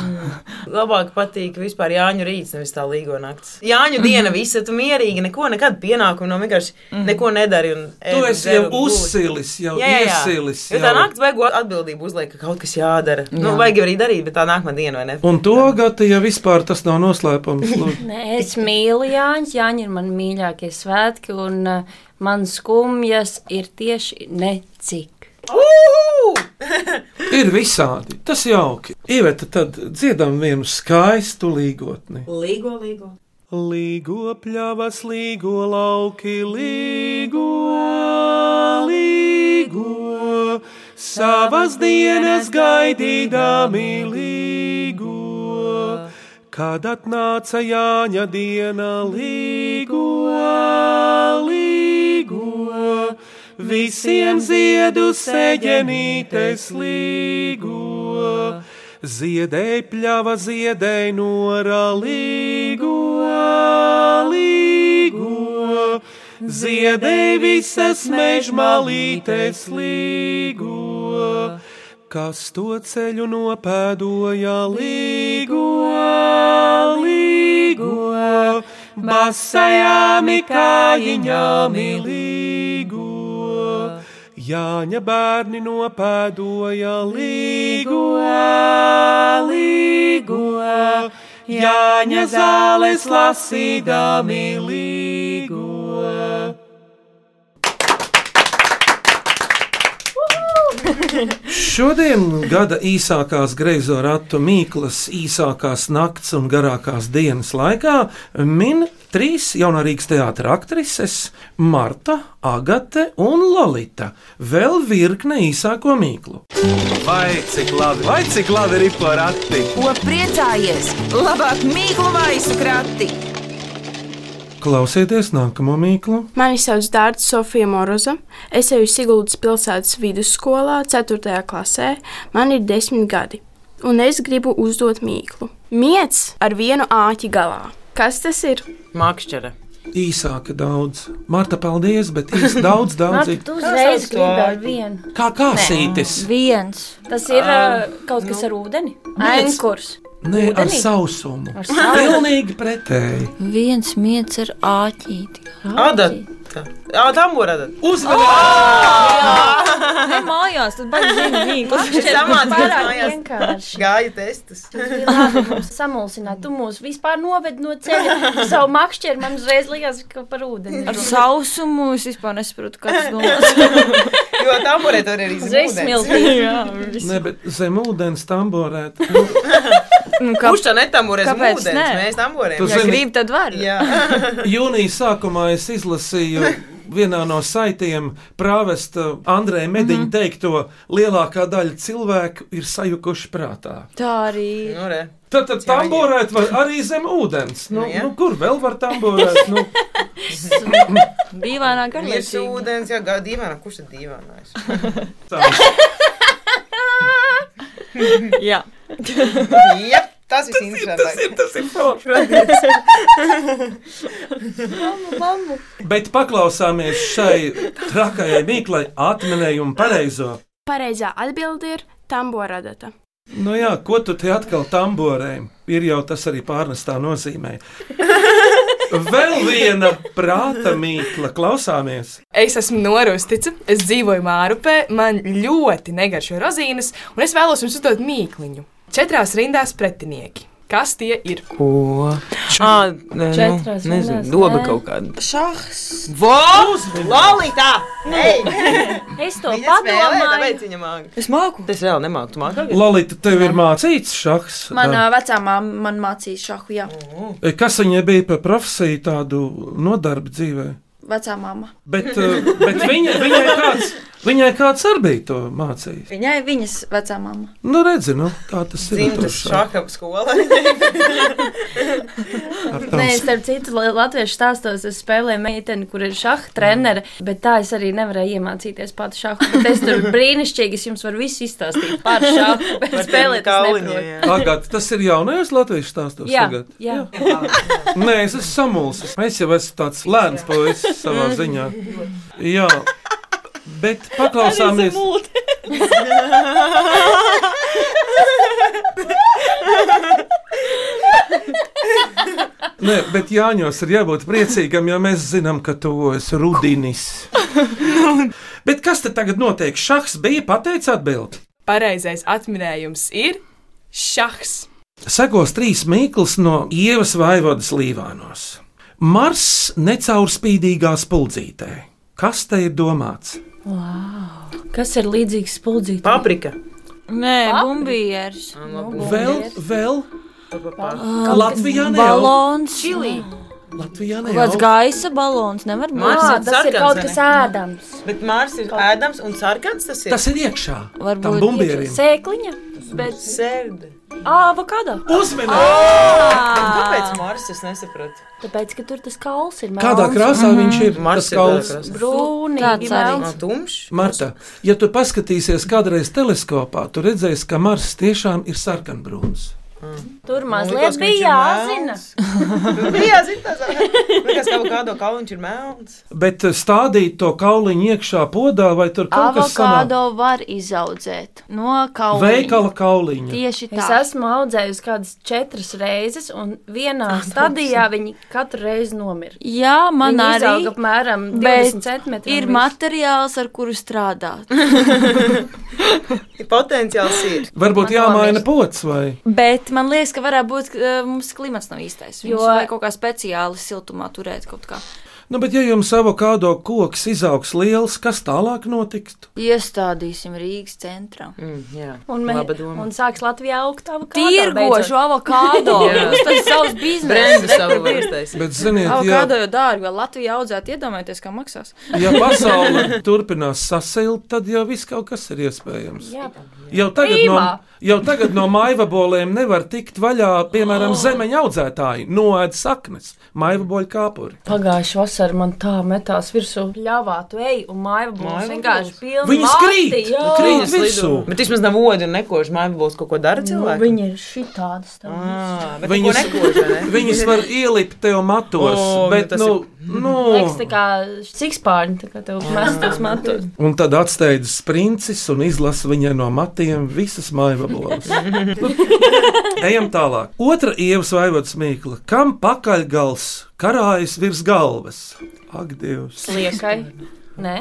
[SPEAKER 6] Labāk patīk vispār Jāņa rīts, nevis tā līgo naktis. Jāņa diena, visa Mhm. tu mierīgi, neko nekad pienākumu no vienkārši neko nedari. Un eh,
[SPEAKER 3] Tu esi jau Uzsilis jau
[SPEAKER 6] Jā, jā, jā.
[SPEAKER 3] iesilis.
[SPEAKER 6] Jo tā naktas beigu atbildību uzliek, ka kaut kas jādara. Jā. Nu, vajag arī darīt, bet tā nākamā diena, vai ne?
[SPEAKER 3] Un to gada, ja vispār tas nav noslēpums, lūdzu.
[SPEAKER 4] Nē, es mīlu Jāņus. Jāņi ir mani mīļākie svētki, un uh, man skumjas ir tieši necik.
[SPEAKER 3] ir visādi. Tas jauki. Iveta, tad dziedam vienu skaistu līgotni.
[SPEAKER 7] Līgo, līgo.
[SPEAKER 1] Līgo pļavas, līgo lauki, līgo, līgo, savas dienas gaidīdami līgo, kad atnāca Jāņa diena, līgo, līgo, visiem ziedu seģenītes līgo. Ziedēja pļava, ziedēja noralīgo, līgo, ziedēja visas mežmalītes līgo, kas to ceļu nopēdoja līgo, līgo, basajām kājiņām līgo. Jāņa bērni nopēdoja līgu, līgu, Jāņa zāles lasīdami līgu.
[SPEAKER 3] Šodien gada īsākās greizo ratu mīklas, īsākās nakts un garākās dienas laikā min trīs jaunārīgas teātras aktrises - Marta, Agate un Lalita. Vēl virkne īsāko mīklu.
[SPEAKER 1] Vai cik labi, vai cik labi ir porakti?
[SPEAKER 2] Ko priecājies? Labāk mīklu maisu krati!
[SPEAKER 3] Klausieties nākamo mīklu.
[SPEAKER 11] Mani sauc Dārts Sofija Moroza. Es eju Siguldas pilsētas vidusskolā, 4. klasē. Man ir 10 gadi, un es gribu uzdot mīklu. Miets ar vienu āķi galā. Kas tas ir?
[SPEAKER 6] Mākšķere.
[SPEAKER 3] Īsāka daudz. Marta, paldies, bet īsti daudz, daudz.
[SPEAKER 4] Marta,
[SPEAKER 3] ir.
[SPEAKER 4] tu uzreiz
[SPEAKER 6] sauc to
[SPEAKER 4] gribi ar
[SPEAKER 6] āķi?
[SPEAKER 4] vienu.
[SPEAKER 3] Kā kāsītis?
[SPEAKER 5] Viens.
[SPEAKER 4] Tas ir uh, kaut
[SPEAKER 6] nu.
[SPEAKER 4] kas ar ūdeni. Ainkurs.
[SPEAKER 3] Nē, ar
[SPEAKER 4] ūdenī?
[SPEAKER 3] sausumu.
[SPEAKER 4] Ar sausumu.
[SPEAKER 3] Pilnīgi pretēji.
[SPEAKER 5] Viens mietis ir āķīti.
[SPEAKER 6] Ada. Tā. Ā, tam var redzēt.
[SPEAKER 5] Nē, mājās, tad baigi zini, mīklas.
[SPEAKER 6] Šis samācījās
[SPEAKER 4] Pārāk
[SPEAKER 6] mājās.
[SPEAKER 4] vienkārši.
[SPEAKER 6] Gāja testus.
[SPEAKER 4] Bija labi mums Samulsināt, tu mūs vispār noved no ceļa. Savu makšķeru man uzreiz likās, ka par ūdeni.
[SPEAKER 5] Ar sausumu es vispār nesaprotu, kas tas domās.
[SPEAKER 6] Jo tam var redzēt arī
[SPEAKER 4] Uzreiz
[SPEAKER 6] zīmēs.
[SPEAKER 4] smilti.
[SPEAKER 3] Nē, bet zem ūdens tamborēt. Nu,
[SPEAKER 5] Nu, kā,
[SPEAKER 6] Kurš tā netamurē zem
[SPEAKER 5] Kāpēc
[SPEAKER 6] ūdens?
[SPEAKER 5] ne?
[SPEAKER 6] Mēs tamurējam.
[SPEAKER 3] Tu
[SPEAKER 5] ja
[SPEAKER 3] zini-
[SPEAKER 5] grib, tad var.
[SPEAKER 6] Jā.
[SPEAKER 3] Jūnijas sākumā es izlasīju vienā no saitiem prāvesta Andrēna Mediņa mm. teikto, lielākā daļa cilvēku ir sajukuši prātā.
[SPEAKER 5] Tā arī. ir.
[SPEAKER 6] Nu, re.
[SPEAKER 3] Tad, tad tamborēt var arī zem ūdens. Nu,
[SPEAKER 6] Nu, jā.
[SPEAKER 3] nu, kur vēl var tamborēt? Nu,
[SPEAKER 5] Dīvainā
[SPEAKER 6] Mirs
[SPEAKER 5] garlaicība.
[SPEAKER 6] ūdens, jā, gāja dīvainā. Kurš tad dīvainājis?
[SPEAKER 3] tā.
[SPEAKER 5] Jā.
[SPEAKER 6] Jā, tas ir interesanti.
[SPEAKER 3] Tas ir forši. Bet paklausāmies šai trakajai mīklai atminējumu pareizo.
[SPEAKER 11] Pareizā atbilde ir tamboradata.
[SPEAKER 3] Nu jā, ko tu te atkal tamborēji? Ir jau tas arī pārnestā nozīmē. Vēl viena prāta mīkla, klausāmies.
[SPEAKER 12] Es esmu Norustice, es dzīvoju Mārupē, man ļoti negaršo rozīnes, un es vēlos jums uzdot mīkliņu. Četrās rindās pretinieki. Kas tie ir?
[SPEAKER 6] Ko? Ā, nē, nu,
[SPEAKER 4] Četrās
[SPEAKER 6] nezinu,
[SPEAKER 4] rindās,
[SPEAKER 6] doba
[SPEAKER 4] nē.
[SPEAKER 6] kaut kāda.
[SPEAKER 3] Vos!
[SPEAKER 6] Lolita! Ei!
[SPEAKER 4] Es to
[SPEAKER 6] Viņa spēlē, tāpēc
[SPEAKER 4] padomāju.
[SPEAKER 6] viņa māca.
[SPEAKER 5] Es māku.
[SPEAKER 6] Es reāli nemāku, tu māki?
[SPEAKER 3] Lolita, tev ir mācīts šachs.
[SPEAKER 5] Manā vecā māma man mācīja šahu, jā.
[SPEAKER 3] Eh, Kas viņai bija par profesiju tādu nodarbi dzīvē?
[SPEAKER 5] Vecā māma.
[SPEAKER 3] Bet, eh, bet viņa, viņai, kāds, viņai kāds arī bija to mācījis.
[SPEAKER 5] Viņai viņas vecā māma.
[SPEAKER 3] Nu, redzi, nu, tā tas ir. ar to
[SPEAKER 6] Dzimtas
[SPEAKER 3] šahu,
[SPEAKER 6] šaka skola.
[SPEAKER 3] ar tavu
[SPEAKER 4] Nē, starp citu, la- latviešu stāstos es spēlēju meiteni, kur ir šaha trenere, bet tā es arī nevarēju iemācīties pati šahu. Bet es tur brīnišķīgi, es jums varu visu izstāstīt par šahu, bet spēlēt es neprotu.
[SPEAKER 3] Agat, tas ir jaunais latviešu stāstos.
[SPEAKER 4] Jā,
[SPEAKER 3] tagad?
[SPEAKER 4] jā.
[SPEAKER 3] Nē, es esmu samulsis. Es jau esmu tāds lēns puisis savā ziņā. Jā, bet paklausāmies. Nē, bet Jāņos ir jābūt priecīgam, jo mēs zinām, ka tuvojas rudenis. Bet kas tad tagad notiek? Šachs bija pateicis atbildi.
[SPEAKER 12] Pareizais atminējums ir šachs.
[SPEAKER 3] Sekos trīs mīklas no ievas vaivodas līvānos. Mars necaurspīdīgā spuldzītē. Kas te ir domāts?
[SPEAKER 4] Wow. Kas ir līdzīgs spuldzītājam?
[SPEAKER 6] Paprika.
[SPEAKER 5] Nē, bumbieris.
[SPEAKER 3] Vēl, vēl
[SPEAKER 5] Kaut
[SPEAKER 3] Latvijā
[SPEAKER 5] kas-
[SPEAKER 3] neaug.
[SPEAKER 5] Balons. Čilī.
[SPEAKER 3] Latvijā
[SPEAKER 5] Kaut kāds gaisa balons. Nevar būt.
[SPEAKER 4] Mārcis ir Ah, tas ir sarkans, kaut vai kas ne?
[SPEAKER 6] ēdams. Bet Mārcis ir ēdams un sarkans. Tas ir,
[SPEAKER 3] Tas ir iekšā.
[SPEAKER 4] Varbūt
[SPEAKER 3] bumbierim.
[SPEAKER 4] sēkliņa, bet
[SPEAKER 6] sērde.
[SPEAKER 4] Avokado.
[SPEAKER 6] Uzmanīgi! Kāpēc Mārcis es nesapratu?
[SPEAKER 4] Tāpēc, ka tur tas kauls ir.
[SPEAKER 3] Kādā
[SPEAKER 4] melns.
[SPEAKER 3] krāsā
[SPEAKER 4] Mhm.
[SPEAKER 3] viņš ir?
[SPEAKER 6] Mars
[SPEAKER 3] Tas
[SPEAKER 6] ir kādā
[SPEAKER 3] kauls.
[SPEAKER 6] krāsā.
[SPEAKER 4] Brūnīgi melns.
[SPEAKER 6] Tumšs.
[SPEAKER 3] Marta, ja tu paskatīsies kādreiz teleskopā, tu redzēsi, ka Mars tiešām ir sarkanbrūns.
[SPEAKER 4] Tur
[SPEAKER 6] likās,
[SPEAKER 4] mazliet
[SPEAKER 6] ka viņš ir
[SPEAKER 4] bija jāzina.
[SPEAKER 6] Jā, zina, tas ir. Kas kaut kādā kalnā ir melns.
[SPEAKER 3] Bet eh, stādīt to kauliņu iekšā podā vai tur kaut kas tāds
[SPEAKER 5] Avokado var izaudzēt no
[SPEAKER 3] -
[SPEAKER 5] kaut
[SPEAKER 3] veikala kauliņa.
[SPEAKER 5] Tieši tā.
[SPEAKER 4] Es esmu audzējusi kādas četras reizes, un vienā stadijā viņi katru reizi nomira.
[SPEAKER 5] Jā, man
[SPEAKER 4] Viņi
[SPEAKER 5] arī
[SPEAKER 4] izauga apmēram
[SPEAKER 5] bet
[SPEAKER 4] 20 centimetri
[SPEAKER 5] Ir
[SPEAKER 4] no virsmas.
[SPEAKER 5] materiāls, ar kuru strādāt.
[SPEAKER 6] Potenciāls ir.
[SPEAKER 3] Varbūt jāmaina pots vai
[SPEAKER 5] Bet man liekas, ka varētu būt, ka eh, mums klimats nav īstais. Jo
[SPEAKER 4] Jo-
[SPEAKER 5] vajag kaut kā speciāli siltumā turēt kaut kā.
[SPEAKER 3] Nu, bet ja jums avokado koks izaugs liels, kas tālāk notiks?
[SPEAKER 5] Iestādīsim Rīgas centrā. Mm,
[SPEAKER 6] jā.
[SPEAKER 4] Un, me, un sāks Latvijā augt avokado.
[SPEAKER 5] Tirgošu avokado. Tas ir savs biznesa.
[SPEAKER 6] Brendu savu
[SPEAKER 5] Reku
[SPEAKER 6] var
[SPEAKER 5] pirkt.
[SPEAKER 6] uztaisīt.
[SPEAKER 3] Bet, ziniet, jā,
[SPEAKER 5] Avokado jau dārgi, jo Latvijā audzēt, iedomājieties, kā maksās.
[SPEAKER 3] ja pasaule turpinās sasilt, tad jau viss kaut kas ir iespējams.
[SPEAKER 5] Jā.
[SPEAKER 3] Jau tagad, no,
[SPEAKER 5] Rīmā.
[SPEAKER 3] jau tagad no maivaboliem nevar tikt vaļā, piemēram, oh. zemeņa audzētāji noēd saknes, maivaboļu kāpuri.
[SPEAKER 4] Pagājušā vasarā man tā metās virsū. Ļāvā, tu ej, un māja būs
[SPEAKER 6] Maiva
[SPEAKER 4] vienkārši
[SPEAKER 6] būs.
[SPEAKER 4] pilna.
[SPEAKER 3] Viņi
[SPEAKER 4] masti,
[SPEAKER 3] krīt!
[SPEAKER 4] jā.
[SPEAKER 3] Krīt
[SPEAKER 6] Viņas
[SPEAKER 3] virsū!
[SPEAKER 6] lido. Bet vismaz nav vodu un nekožu. Māja būs kaut ko dara
[SPEAKER 4] Nu,
[SPEAKER 6] cilvēki. Ah.
[SPEAKER 4] Viņi ir šitādas.
[SPEAKER 6] Ā, bet
[SPEAKER 3] Viņas,
[SPEAKER 6] neko nekož, vai ne?
[SPEAKER 3] viņas var ielikt tev matos,
[SPEAKER 6] O,
[SPEAKER 3] oh, bet,
[SPEAKER 6] tas
[SPEAKER 3] nu,
[SPEAKER 4] Liekas, tā
[SPEAKER 3] nu,
[SPEAKER 4] kā sikspārņi, tā kā tev
[SPEAKER 6] Ah.
[SPEAKER 4] mestos matos.
[SPEAKER 3] un tad atsteidzas princis un izlasa viņai no matiem visas maivaboles. Ejam tālāk. Otra ievas vaivotas mīkla. Kam pakaļgals karājas virs galvas? Ak, Dievs!
[SPEAKER 4] Sliekai. Nē?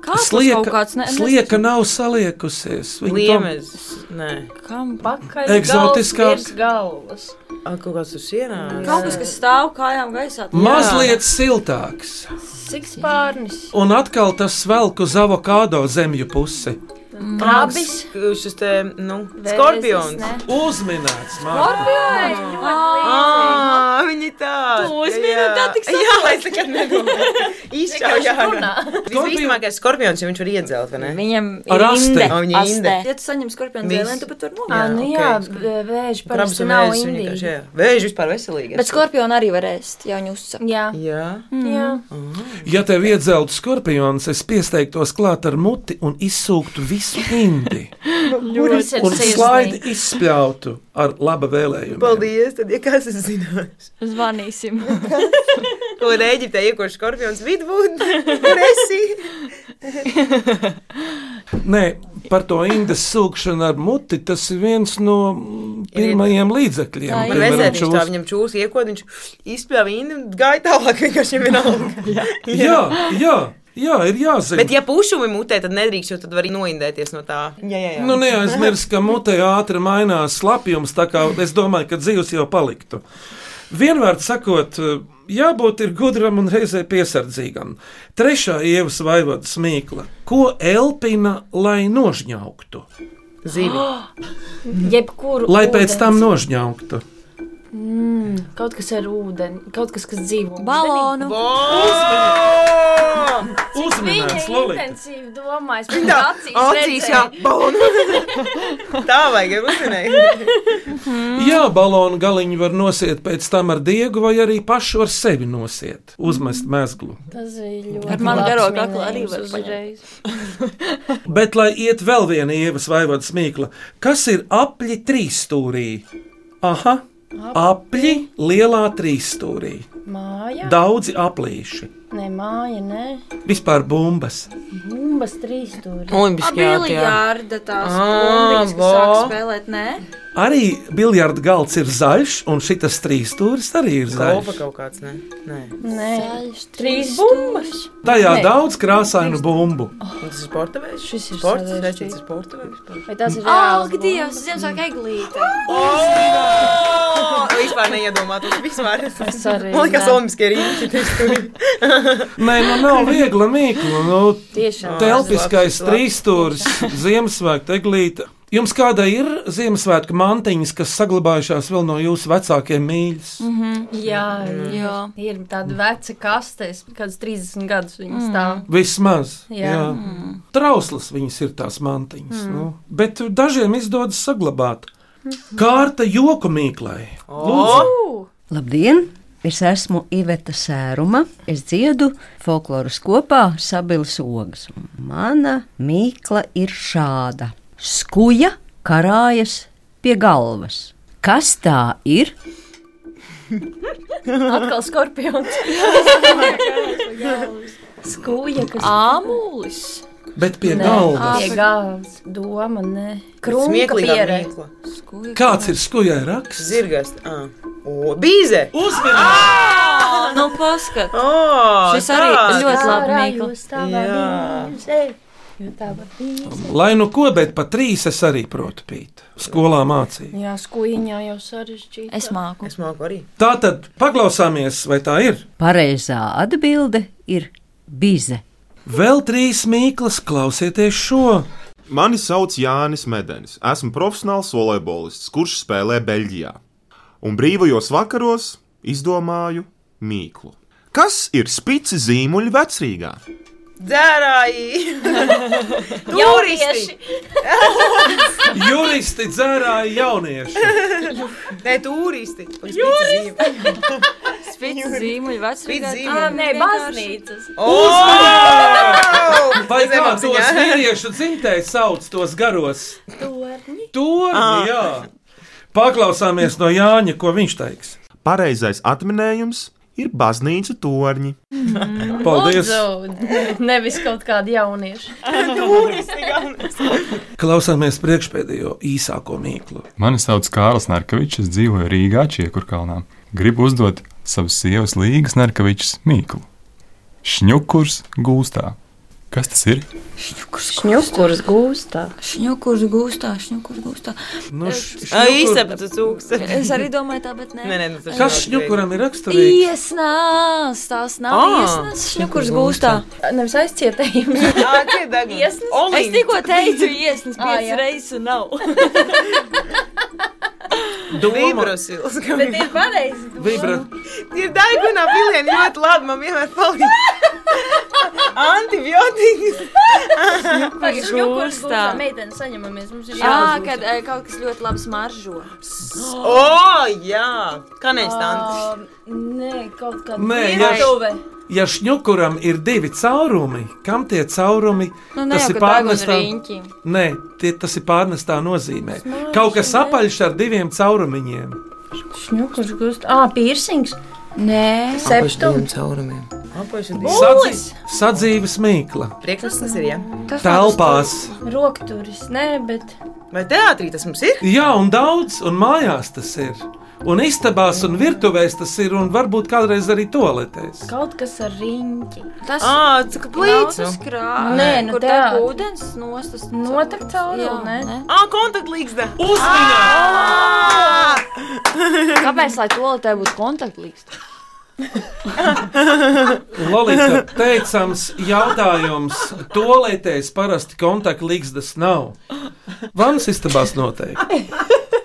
[SPEAKER 5] Kāpēc kaut kāds ne-
[SPEAKER 3] slieka nav saliekusies. Viņa to
[SPEAKER 6] Liemes. Nē.
[SPEAKER 5] Kam
[SPEAKER 4] pakaļ?
[SPEAKER 3] Egzotiskā-
[SPEAKER 4] Virs galvas.
[SPEAKER 6] A, kaut kāds uz sienām.
[SPEAKER 5] Kaut kas, kas stāv kājām gaisā.
[SPEAKER 3] mazliet siltāks.
[SPEAKER 4] Sikspārnis.
[SPEAKER 3] Un atkal tas velk uz avokado zemju pusi.
[SPEAKER 4] Krabis.
[SPEAKER 6] Šis te, nu, skorpions.
[SPEAKER 4] ne?
[SPEAKER 3] Uzminēts, Mārta.
[SPEAKER 4] Skorpions!
[SPEAKER 6] Ā, Viņi tādi.
[SPEAKER 4] Tu uzmini, un tā tik
[SPEAKER 6] Jā, es nekad nedomāju.
[SPEAKER 4] Vienkārši
[SPEAKER 6] Īšķā, jā.
[SPEAKER 4] runā.
[SPEAKER 6] Visticamākais skorpions, jo viņš var iedzelt, vai ne?
[SPEAKER 5] Viņam
[SPEAKER 6] Ar asti.
[SPEAKER 5] inde.
[SPEAKER 6] Ā, viņa inde.
[SPEAKER 5] Ja tu saņem skorpionu
[SPEAKER 6] Viss.
[SPEAKER 5] zēlēnu, tad pat var
[SPEAKER 4] Jā,
[SPEAKER 5] nogalināt.
[SPEAKER 4] nu
[SPEAKER 6] ok,
[SPEAKER 4] jā,
[SPEAKER 6] skorpions.
[SPEAKER 4] b- vēži
[SPEAKER 6] Krabs
[SPEAKER 4] parasti
[SPEAKER 6] un
[SPEAKER 4] nav
[SPEAKER 6] vēzis, viņi vienkārši,
[SPEAKER 4] indīgi.
[SPEAKER 6] jā. Vēži vispār veselīgi.
[SPEAKER 5] Bet skorpionu arī varēs, ja viņi uzsaka.
[SPEAKER 4] Jā.
[SPEAKER 6] Jā.
[SPEAKER 4] Jā.
[SPEAKER 3] Ja tev iedzeltu skorpions, es piesteiktos klāt ar muti un izsūktu visu indi.
[SPEAKER 4] Kuras ir
[SPEAKER 3] Un slaidi izspļautu ar laba vēlējumu.
[SPEAKER 6] Paldies, tad, ja kāds es zinās.
[SPEAKER 5] Zvanīsim.
[SPEAKER 6] Kur Eģiptē iekož skorpions vidvud? Kur esi?
[SPEAKER 3] Nē, par to indas sūkšanu ar muti tas ir viens no mm, pirmajiem līdzekļiem.
[SPEAKER 6] Man
[SPEAKER 3] piemēram,
[SPEAKER 6] vecētiņš
[SPEAKER 3] čūs-
[SPEAKER 6] tā viņam čūs iekod, viņš izpļāva indi un gāja tālāk vienkārši viņam vienalga.
[SPEAKER 3] Jā, jā, jā, ir jāzina.
[SPEAKER 6] Bet ja pušumi mutē, tad nedrīkst, jo tad var noindēties no tā. Jā, jā, jā.
[SPEAKER 3] Nu, neaizmirst, ka mutē ātri mainās slapjums, tā kā es domāju, ka dzīves jau paliktu. Vienvārds sakot, jābūt ir gudram un reizē piesardzīgam. Trešā ievas vaivodas mīkla - ko elpina, lai nožņauktu,
[SPEAKER 6] Zivi.
[SPEAKER 4] Jebkuru.
[SPEAKER 3] lai pēc tam
[SPEAKER 4] ūdens.
[SPEAKER 3] nožņauktu.
[SPEAKER 4] Mm, kaut kas ar ūdeni, kaut kas, kas dzīvo.
[SPEAKER 5] Balonu.
[SPEAKER 3] Uzmanīgs, Lolita!
[SPEAKER 4] intensīvi domājas,
[SPEAKER 6] Viņa
[SPEAKER 4] bet
[SPEAKER 6] tā,
[SPEAKER 4] acīs,
[SPEAKER 6] acīs, jā, balonu. Tā vajag, ja uzmanīgi.
[SPEAKER 3] Jā, balonu galiņu var nosiet pēc tam ar diegu, vai arī pašu ar sevi nosiet, uzmest mezglu.
[SPEAKER 4] Tas ir ļoti.
[SPEAKER 5] Ar manu garo
[SPEAKER 4] labs
[SPEAKER 5] kaklu arī
[SPEAKER 4] minējums
[SPEAKER 5] var
[SPEAKER 4] uzreiz.
[SPEAKER 3] Bet, lai iet vēl viena ievas vaivodas mīkla, kas ir apli trīsstūrī? Aha, apli lielā trīsstūrī.
[SPEAKER 4] Māja.
[SPEAKER 3] Daudzi aplīši,
[SPEAKER 4] Nē, māja, nē.
[SPEAKER 3] vispār bumbas.
[SPEAKER 4] Bumbas trīs stūri.
[SPEAKER 1] Olimpiskajā
[SPEAKER 5] Biljārda tās
[SPEAKER 3] Ah,
[SPEAKER 5] bumbiņas, kas sāk
[SPEAKER 3] bo.
[SPEAKER 5] spēlēt, nē?
[SPEAKER 3] Arī biljarda galds ir zaļš, un šitas trīs stūris arī ir zaļš.
[SPEAKER 6] Golfa kaut kāds, ne? Nē.
[SPEAKER 4] Nē, trīs bumbas.
[SPEAKER 3] Tajā
[SPEAKER 6] Nē.
[SPEAKER 3] daudz krāsainu bumbu.
[SPEAKER 6] Un Tas ir sporta veids.
[SPEAKER 4] Šis ir
[SPEAKER 6] sports.
[SPEAKER 4] sarežģīti.
[SPEAKER 6] Rēķins ir sporta veids.
[SPEAKER 4] Vai tas ir
[SPEAKER 5] Ah,
[SPEAKER 4] reāls
[SPEAKER 5] Dievs, Ziemassvētku eglīte.
[SPEAKER 6] Oh! Vispār neiedomājos. Vispār es
[SPEAKER 4] Es arī,
[SPEAKER 6] Man liekas,
[SPEAKER 4] jā.
[SPEAKER 6] Olimpiskie rīki. tie stūri.
[SPEAKER 3] Nē, nu nav viegla mīkla. Nu,
[SPEAKER 4] Tiešām.
[SPEAKER 3] telpiskais
[SPEAKER 6] Labs, labs.
[SPEAKER 3] trīsstūris, Ziemassvētku eglīte. Jums kāda ir Ziemassvētku mantiņas, kas saglabājušās vēl no jūsu vecākiem mīļas?
[SPEAKER 4] Mhm. Jā, jā, ir tāda veca kaste, es kāds 30 gadus viņa stāv.
[SPEAKER 3] Vismaz.
[SPEAKER 4] Jā. Mhm.
[SPEAKER 3] Trauslas viņas ir tās mantiņas. Mm. Nu. Bet dažiem izdodas saglabāt.
[SPEAKER 4] Mhm.
[SPEAKER 3] Kārta joku mīklai. Lūdzu.
[SPEAKER 13] Labdien! Es esmu Iveta Sēruma. Es dziedu folkloras kopā Sabilas ogas. Un Mana mīkla ir šāda. Skuja karājas pie galvas. Kas tā ir?
[SPEAKER 4] Atkal skorpions. Skūja, kas
[SPEAKER 5] Āmulis.
[SPEAKER 3] Bet pie
[SPEAKER 4] Nē,
[SPEAKER 3] galvas.
[SPEAKER 4] Pie galvas. Doma, nē. Krunka
[SPEAKER 6] Smieklīgā
[SPEAKER 4] pierē.
[SPEAKER 6] mīkla.
[SPEAKER 3] Kāds ir skujai raksts?
[SPEAKER 6] Zirgas. ah. O, Bīze!
[SPEAKER 3] Uzmanīgi!
[SPEAKER 5] Nu, paskat.
[SPEAKER 6] Oh,
[SPEAKER 5] Šis arī
[SPEAKER 6] tāds.
[SPEAKER 5] ļoti labi
[SPEAKER 4] Ārā
[SPEAKER 5] mīklu.
[SPEAKER 4] jūs stāvā
[SPEAKER 6] Jā.
[SPEAKER 4] bīze, jo tā var bīze.
[SPEAKER 3] Lai nu ko, bet pa trīs es arī protu pīt. Skolā mācīju.
[SPEAKER 4] Jā, skūjiņā jau sarežģīti.
[SPEAKER 5] Es māku.
[SPEAKER 6] Es māku arī.
[SPEAKER 3] Tā tad paklausāmies, vai tā ir.
[SPEAKER 13] Pareizā atbilde ir bize.
[SPEAKER 3] Vēl trīs mīklas, klausieties šo.
[SPEAKER 14] Mani sauc Jānis Medenis. Esmu profesionāls volejbolists, kurš spēlē Beļģijā. Un brīvajos vakaros izdomāju mīklu. Kas ir spici zīmuļi vecrīgā?
[SPEAKER 6] Dzērāji! Turisti!
[SPEAKER 3] Juristi dzērāja jaunieši.
[SPEAKER 6] Nē, turisti! Un spici zīme.
[SPEAKER 5] Spīdz zīmuļi, vecrīgā.
[SPEAKER 6] Spīdz
[SPEAKER 5] Ā,
[SPEAKER 6] zīmuļi.
[SPEAKER 5] nē, baznīcas.
[SPEAKER 3] Uzmanīgi! Vai
[SPEAKER 6] Tas ir
[SPEAKER 3] kā
[SPEAKER 6] labs
[SPEAKER 3] tos
[SPEAKER 6] ziņā.
[SPEAKER 3] vīriešu dzimtēji sauc tos garos?
[SPEAKER 4] Torņi.
[SPEAKER 3] Torni,
[SPEAKER 14] Ah.
[SPEAKER 3] jā. Paklausāmies no Jāņa, ko viņš teiks.
[SPEAKER 14] Pareizais atminējums ir baznīca torņi.
[SPEAKER 3] Paldies!
[SPEAKER 4] Lūdzu, nevis kaut kādi jaunieši.
[SPEAKER 6] Turisti galvenais.
[SPEAKER 3] Klausāmies priekšpēdējo īsāko mīklu.
[SPEAKER 15] Mani sauc Kārlis Narkevičs, es dzīvoju Rīgā, Čiekurkalnā. Gribu uzdot savas sievas Līgas Narkevičs mīklu. Šņukurs gūstā. Kas tas ir?
[SPEAKER 4] Šņukurs gūstā.
[SPEAKER 5] Šņukurs gūstā, šņukurs gūstā.
[SPEAKER 3] Nu,
[SPEAKER 6] Īsapta cūks.
[SPEAKER 5] Es arī domāju tā, bet nē.
[SPEAKER 6] Nē, nē, nu tas
[SPEAKER 3] Kas šņukuram ir raksturīgs?
[SPEAKER 5] Iesnās, tās nav
[SPEAKER 3] Ā.
[SPEAKER 5] iesnas, šņukurs gūstā.
[SPEAKER 4] Nevis aizcietējums.
[SPEAKER 6] Ā, tie deguni.
[SPEAKER 5] Es
[SPEAKER 6] Olīns.
[SPEAKER 5] tikko teicu, iesnas
[SPEAKER 4] Ā, jā.
[SPEAKER 5] piecas reizes un nav.
[SPEAKER 6] Vibrosils.
[SPEAKER 4] Bet ir pareizi.
[SPEAKER 3] Vibra.
[SPEAKER 6] Tie ir daigunā pilieni ļoti labi, man vienmēr palīdz. Antibiotikas.
[SPEAKER 4] Par šņukurs
[SPEAKER 5] gūstā.
[SPEAKER 4] gūstā. Meitene saņemamies, mums ir
[SPEAKER 5] Jā,
[SPEAKER 4] jāuzgūst.
[SPEAKER 5] kad e, kaut kas ļoti labi smaržo.
[SPEAKER 4] Oh.
[SPEAKER 6] O, jā. Kā neizstāns.
[SPEAKER 4] Ā, Nē, kaut kāda
[SPEAKER 3] Nē, ja,
[SPEAKER 4] virtuve.
[SPEAKER 3] ja šņukuram ir divi caurumi, kam tie caurumi
[SPEAKER 5] Nu, ne
[SPEAKER 3] Tas
[SPEAKER 5] jau,
[SPEAKER 3] ir
[SPEAKER 5] ka daigu un
[SPEAKER 3] pārnestā-
[SPEAKER 5] riņķi.
[SPEAKER 3] Nē, tie, tas ir pārnestā nozīmē. Kaut kas apaļš ar diviem caurumiņiem.
[SPEAKER 4] Šņukurs gūstā. Ā, piercings.
[SPEAKER 5] Nē,
[SPEAKER 3] Apakšdiviem
[SPEAKER 6] caurumiem.
[SPEAKER 4] Bullis.
[SPEAKER 3] sadzīves mīkla.
[SPEAKER 6] Priekšstats tas ir, jā.
[SPEAKER 3] Telpās.
[SPEAKER 4] Rokturis, nē, bet.
[SPEAKER 6] Vai teātrī tas mums ir?
[SPEAKER 3] Jā, un daudz, un mājās tas ir. Un istabās, un virtuvēs tas ir, un varbūt kādreiz arī toaletēs.
[SPEAKER 4] Kaut kas ar riņķi.
[SPEAKER 5] Tas
[SPEAKER 6] Ā, cik plīts.
[SPEAKER 5] Plīcis krāsa.
[SPEAKER 4] Nē, nu
[SPEAKER 5] kur
[SPEAKER 4] tā.
[SPEAKER 5] tā ūdens nostas.
[SPEAKER 4] Notek caurumi, nē.
[SPEAKER 6] Ā, kontaktlīgsta.
[SPEAKER 5] Kāpēc, lai toaletē būtu kontaktlīgs?
[SPEAKER 3] Lolita, teicams, jautājums. Toaletēs parasti kontaktlīgstas nav. Vanas istabās noteikti.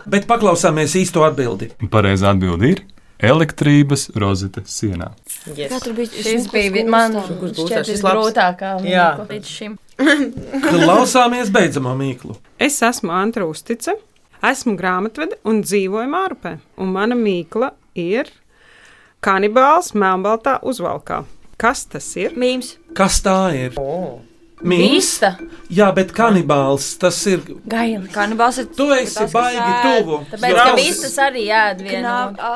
[SPEAKER 3] Bet paklausāmies īsto atbildi.
[SPEAKER 15] Pareizā atbilde ir elektrības rozete sienā.
[SPEAKER 5] Katru bija
[SPEAKER 4] Šis bija vi- man
[SPEAKER 6] gūstā,
[SPEAKER 4] šķiet
[SPEAKER 6] šis labs.
[SPEAKER 4] visgrūtākā
[SPEAKER 16] Jā.
[SPEAKER 4] mīkla līdz šim.
[SPEAKER 3] Klausāmies beidzamā mīklu.
[SPEAKER 16] Es esmu Antra Uztica, esmu grāmatvede un dzīvoju Mārpē. Un mana mīkla ir kanibāls Melnbaltā uzvalkā. Kas tas ir?
[SPEAKER 5] Mīms.
[SPEAKER 3] Kas tā ir? Mīsta. Jā, bet kanibāls tas ir.
[SPEAKER 4] Gailīgs.
[SPEAKER 5] Kanibāls ir
[SPEAKER 3] Tu esi
[SPEAKER 5] tas, kas
[SPEAKER 3] baigi
[SPEAKER 5] ēd.
[SPEAKER 3] tuvu.
[SPEAKER 4] Tāpēc, ka vistas arī ēd vienu.
[SPEAKER 5] Ā,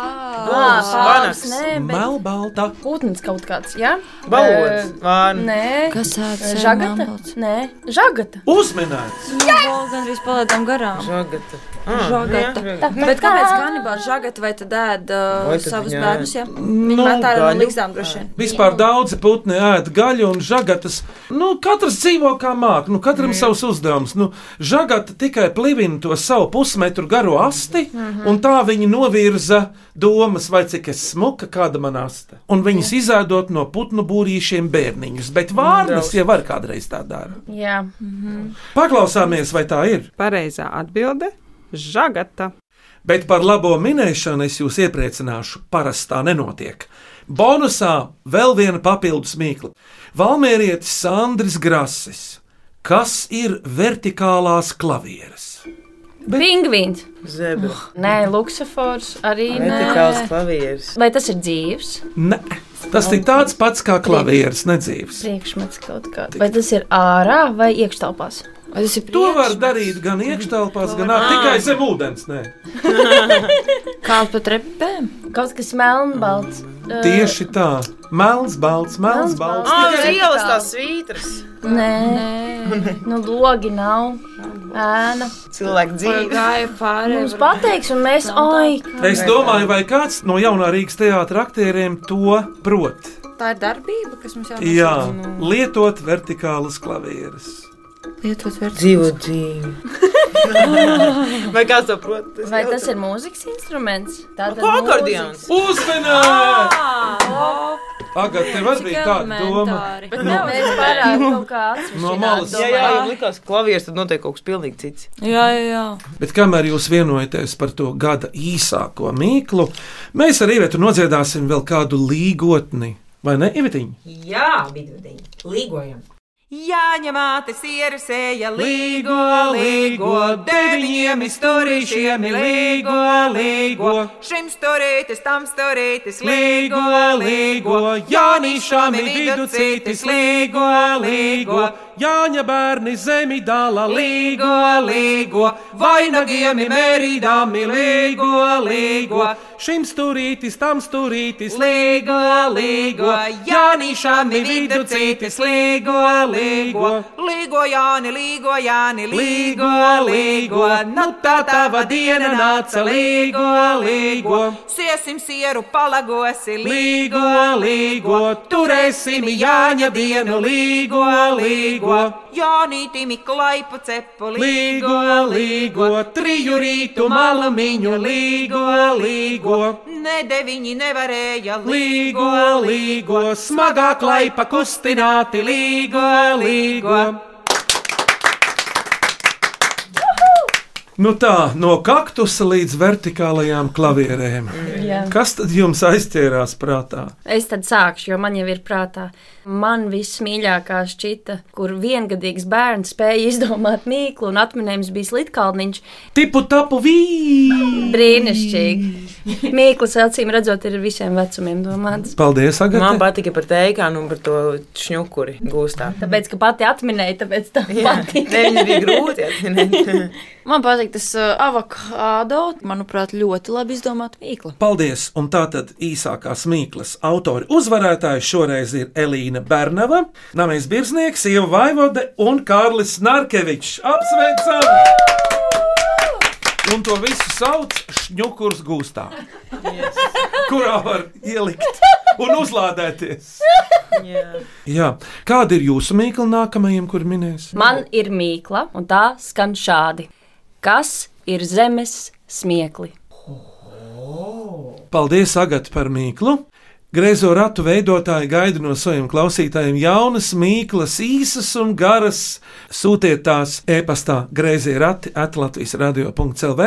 [SPEAKER 4] Vārnas.
[SPEAKER 3] Melbalta.
[SPEAKER 4] Kūtnes kaut kāds, jā?
[SPEAKER 3] Balods,
[SPEAKER 4] Eh,
[SPEAKER 3] vārna.
[SPEAKER 4] Nē.
[SPEAKER 5] Kas ēd
[SPEAKER 4] Eh,
[SPEAKER 5] sēnu
[SPEAKER 4] Žagata? Nē. Žagata.
[SPEAKER 3] Uzminēts!
[SPEAKER 5] Nu, Gan arī palaidām garām.
[SPEAKER 6] Žagata.
[SPEAKER 5] Žagata. Bet kāpēc kanibāls žagata vai tad ēd uh,
[SPEAKER 3] Vai tad
[SPEAKER 5] savus
[SPEAKER 3] viņa
[SPEAKER 5] bērnus?
[SPEAKER 3] ēd?
[SPEAKER 5] jā? Viņi
[SPEAKER 3] Nu,
[SPEAKER 5] metā no
[SPEAKER 3] gaļu.
[SPEAKER 5] līgzām droši vien.
[SPEAKER 3] Vispār daudzi putni ēd gaļu un žagatas. Nu, katrs dzīvo kā māca, nu, katram mm. savs uzdevums. Nu, žagata tikai plivina to savu pusmetru garo asti, mm -hmm. un tā viņa novirza domas, vai cik es smuka, kāda man asta. Un viņas izēdot no putnu būrīšiem bērniņus, bet vārnas
[SPEAKER 16] Drausmas.
[SPEAKER 3] jau var kādreiz tā dara.
[SPEAKER 4] Jā. Mhm.
[SPEAKER 3] Paklausāmies, vai tā ir.
[SPEAKER 16] Pareizā atbilde - žagata.
[SPEAKER 3] Bet par labo minēšanu es jūs iepriecināšu, parasti tā nenotiek. Bonusā vēl viena papildus mīkla. Valmērietis Sandrs Grasis. Kas ir vertikālās klavieres?
[SPEAKER 4] Pingvīns.
[SPEAKER 6] Zebra.
[SPEAKER 4] Nē, luksofors arī nē.
[SPEAKER 6] Vertikāls klavieres.
[SPEAKER 4] Vai tas ir dzīves?
[SPEAKER 3] Ne. Tas ir tāds pats kā klavieres, nedzīves.
[SPEAKER 4] Priekšmets kaut kāds. Vai tas ir ārā vai iekštelpās? Vai tas ir
[SPEAKER 3] To var darīt gan iekštelpās, gan ar, tikai zem ūdens. Nē.
[SPEAKER 4] Kāds pat repēm? Kaut kas melnbalts. Eh,
[SPEAKER 3] Tieši tā. Melns, balts, melns, balts.
[SPEAKER 6] Ah,
[SPEAKER 4] Tikai-
[SPEAKER 6] uz ielas tās svītras.
[SPEAKER 4] Nē, nu, logi nav. Ēna.
[SPEAKER 6] Cilvēki dzīvo.
[SPEAKER 5] Gāja pāri.
[SPEAKER 4] Mums pateiks, un mēs, oi,
[SPEAKER 3] Es domāju, vai kāds no jaunā Rīgas teātra aktieriem to prot.
[SPEAKER 5] Tā ir darbība, kas mums jāsaka.
[SPEAKER 3] Jā, lietot vertikālas klavieres.
[SPEAKER 5] Lietot vērtību.
[SPEAKER 6] Dzīvo dzīvi. Vai kāds to prot?
[SPEAKER 4] Vai tas ir mūzikas instruments? Tā
[SPEAKER 6] Nu, Ko akordeons?
[SPEAKER 3] Uzmanīt! Agad, tev arī bija tāda doma.
[SPEAKER 4] Bet nav mēs pārāk kaut kā atsevišķi.
[SPEAKER 3] No malas.
[SPEAKER 6] Jā, Nu. jā, ja likās, ka klavieres tad notiek kaut kas pilnīgi cits.
[SPEAKER 5] Jā, jā, jā.
[SPEAKER 3] Bet kamēr jūs vienojaties par to gada īsāko mīklu, mēs ar Ivietu nodziedāsim vēl kādu līgotni. Vai ne, Ivetiņa?
[SPEAKER 7] Jā, vidudiņa. Līgojam. Jāņem māte sieru sēja, līgo, līgo, deviņiem izturīšiem, ir līgo, līgo. Šim sturītis, tam sturītis, līgo, līgo, Jānīšam ir viducītis, līgo, līgo.
[SPEAKER 3] Jāņa bērni zemi dala
[SPEAKER 7] līgo, līgo, vainagiem ir mērīdām, ir līgo, līgo.
[SPEAKER 3] Šim sturītis, tam sturītis,
[SPEAKER 7] līgo, līgo, Jānīšam ir viducītis, līgo, līgo, līgo, Jāni, līgo, Jāni, līgo, līgo, nu tā tava diena nāca, līgo, līgo, siesim sieru palagosi, līgo, līgo, turēsim Jāņa dienu, līgo, līgo, Jānītim ir klaipu cepu,
[SPEAKER 3] Līgo, līgo, triju rītu malamiņu, līgo, līgo,
[SPEAKER 7] Ne deviņi nevarēja
[SPEAKER 3] līgo, līgo, smagā klaipa kustināti, līgo, līgo. Nu tā, no kaktusa līdz vertikālajām klavierēm.
[SPEAKER 4] Jā.
[SPEAKER 3] Kas tad jums aizķērās prātā?
[SPEAKER 4] Es tad sākšu, jo man jau ir prātā. Man vismīļākā šķita, kur viengadīgs bērns spēja izdomāt mīklu, un atminējums bija slitkalniņš.
[SPEAKER 3] Tipu tapu vīri!
[SPEAKER 4] Brīnišķīgi! Mīklas acīm redzot, ir visiem vecumiem domāts.
[SPEAKER 3] Paldies, Agatē!
[SPEAKER 6] Man patika par teikānu un par to šņukuri gūstā.
[SPEAKER 4] Tāpēc, ka pati atminēja, tāpēc tā
[SPEAKER 6] Jā, ne,
[SPEAKER 4] patika.
[SPEAKER 6] viņa bija grūti atminēt.
[SPEAKER 5] Man patīk tas uh, avokādo. Manuprāt, ļoti labi izdomāta mīkla.
[SPEAKER 3] Paldies! Un tātad īsākās mīklas autori uzvarētāji šoreiz ir Elīna Bernava, Nāmēs Birznieks, Ieva Vaivode un Kārlis Narkevičs. Apsveicam! Un to visu sauc šņukurs gūstā, kurā var ielikt un uzlādēties. Jā. Kāda ir jūsu mīkla nākamajam, kur minēs?
[SPEAKER 4] Man ir mīkla, un tā skan šādi: Kas ir zemes smieklis?
[SPEAKER 3] Paldies, Agat, par mīklu! Grēzo ratu veidotāji gaida no saviem klausītājiem jaunas, mīklas, īsas un garas. Sūtiet tās e-pastā grēzie rati atlatvijas radio.clv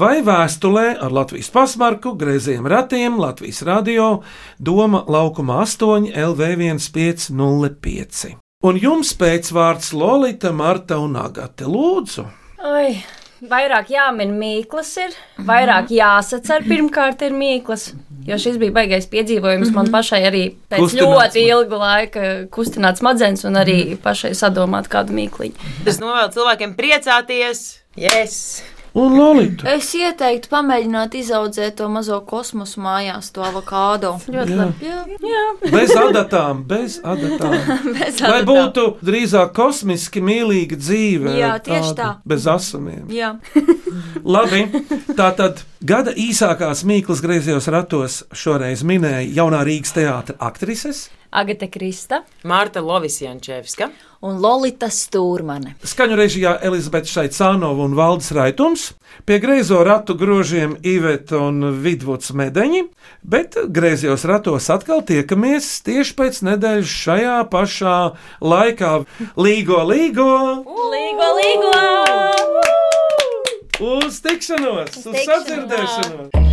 [SPEAKER 3] vai vēstulē ar Latvijas pasmarku grēziem ratiem Latvijas radio Doma laukuma 8 LV1505. Un jums pēcvārds Lolita, Marta un Agate Lūdzu!
[SPEAKER 4] Ai, Mhm. vairāk jāmin mīklas, ir vairāk jāsacer pirmkārt ir mīklas. Jo šis bija baisais piedzīvojums mm -hmm. man pašai arī pēc
[SPEAKER 1] Kustināts
[SPEAKER 4] ļoti ilga laika kustināt smadzenes un arī mm -hmm. pašai sadomāt kādu mīkliņu.
[SPEAKER 6] Es novēlu cilvēkiem priecāties! Yes!
[SPEAKER 3] Un Lolita.
[SPEAKER 17] Es ieteiktu pamēģināt izaudzēt to mazo kosmosu mājās, to avokādo.
[SPEAKER 3] Jā.
[SPEAKER 17] Ļoti labi. Jā. Jā.
[SPEAKER 3] Bez adatām, bez adatām.
[SPEAKER 17] Bez
[SPEAKER 3] Lai
[SPEAKER 17] adatām.
[SPEAKER 3] būtu drīzāk kosmiski mīlīga dzīve.
[SPEAKER 17] Jā, tieši
[SPEAKER 3] tāda,
[SPEAKER 17] tā.
[SPEAKER 3] Bez asamiem.
[SPEAKER 17] Jā.
[SPEAKER 3] Labi, tā tad gada īsākās mīklas griezījos ratos šoreiz minēja jaunā Rīgas teātris aktrises.
[SPEAKER 4] Agate Krista,
[SPEAKER 6] Mārta Lovisjančevska
[SPEAKER 17] un Lolita Stūrmane.
[SPEAKER 3] Skaņu režijā Elizabete Šaicānova un Valdis Raitums, pie griezo ratu grožiem Iveta un Vidvuds Medeņi, bet griezījos ratos atkal tiekamies tieši pēc nedēļas šajā pašā laikā. Līgo, līgo!
[SPEAKER 4] Līgo, līgo!
[SPEAKER 3] Uz tikšanos, uz sadzirdēšanos!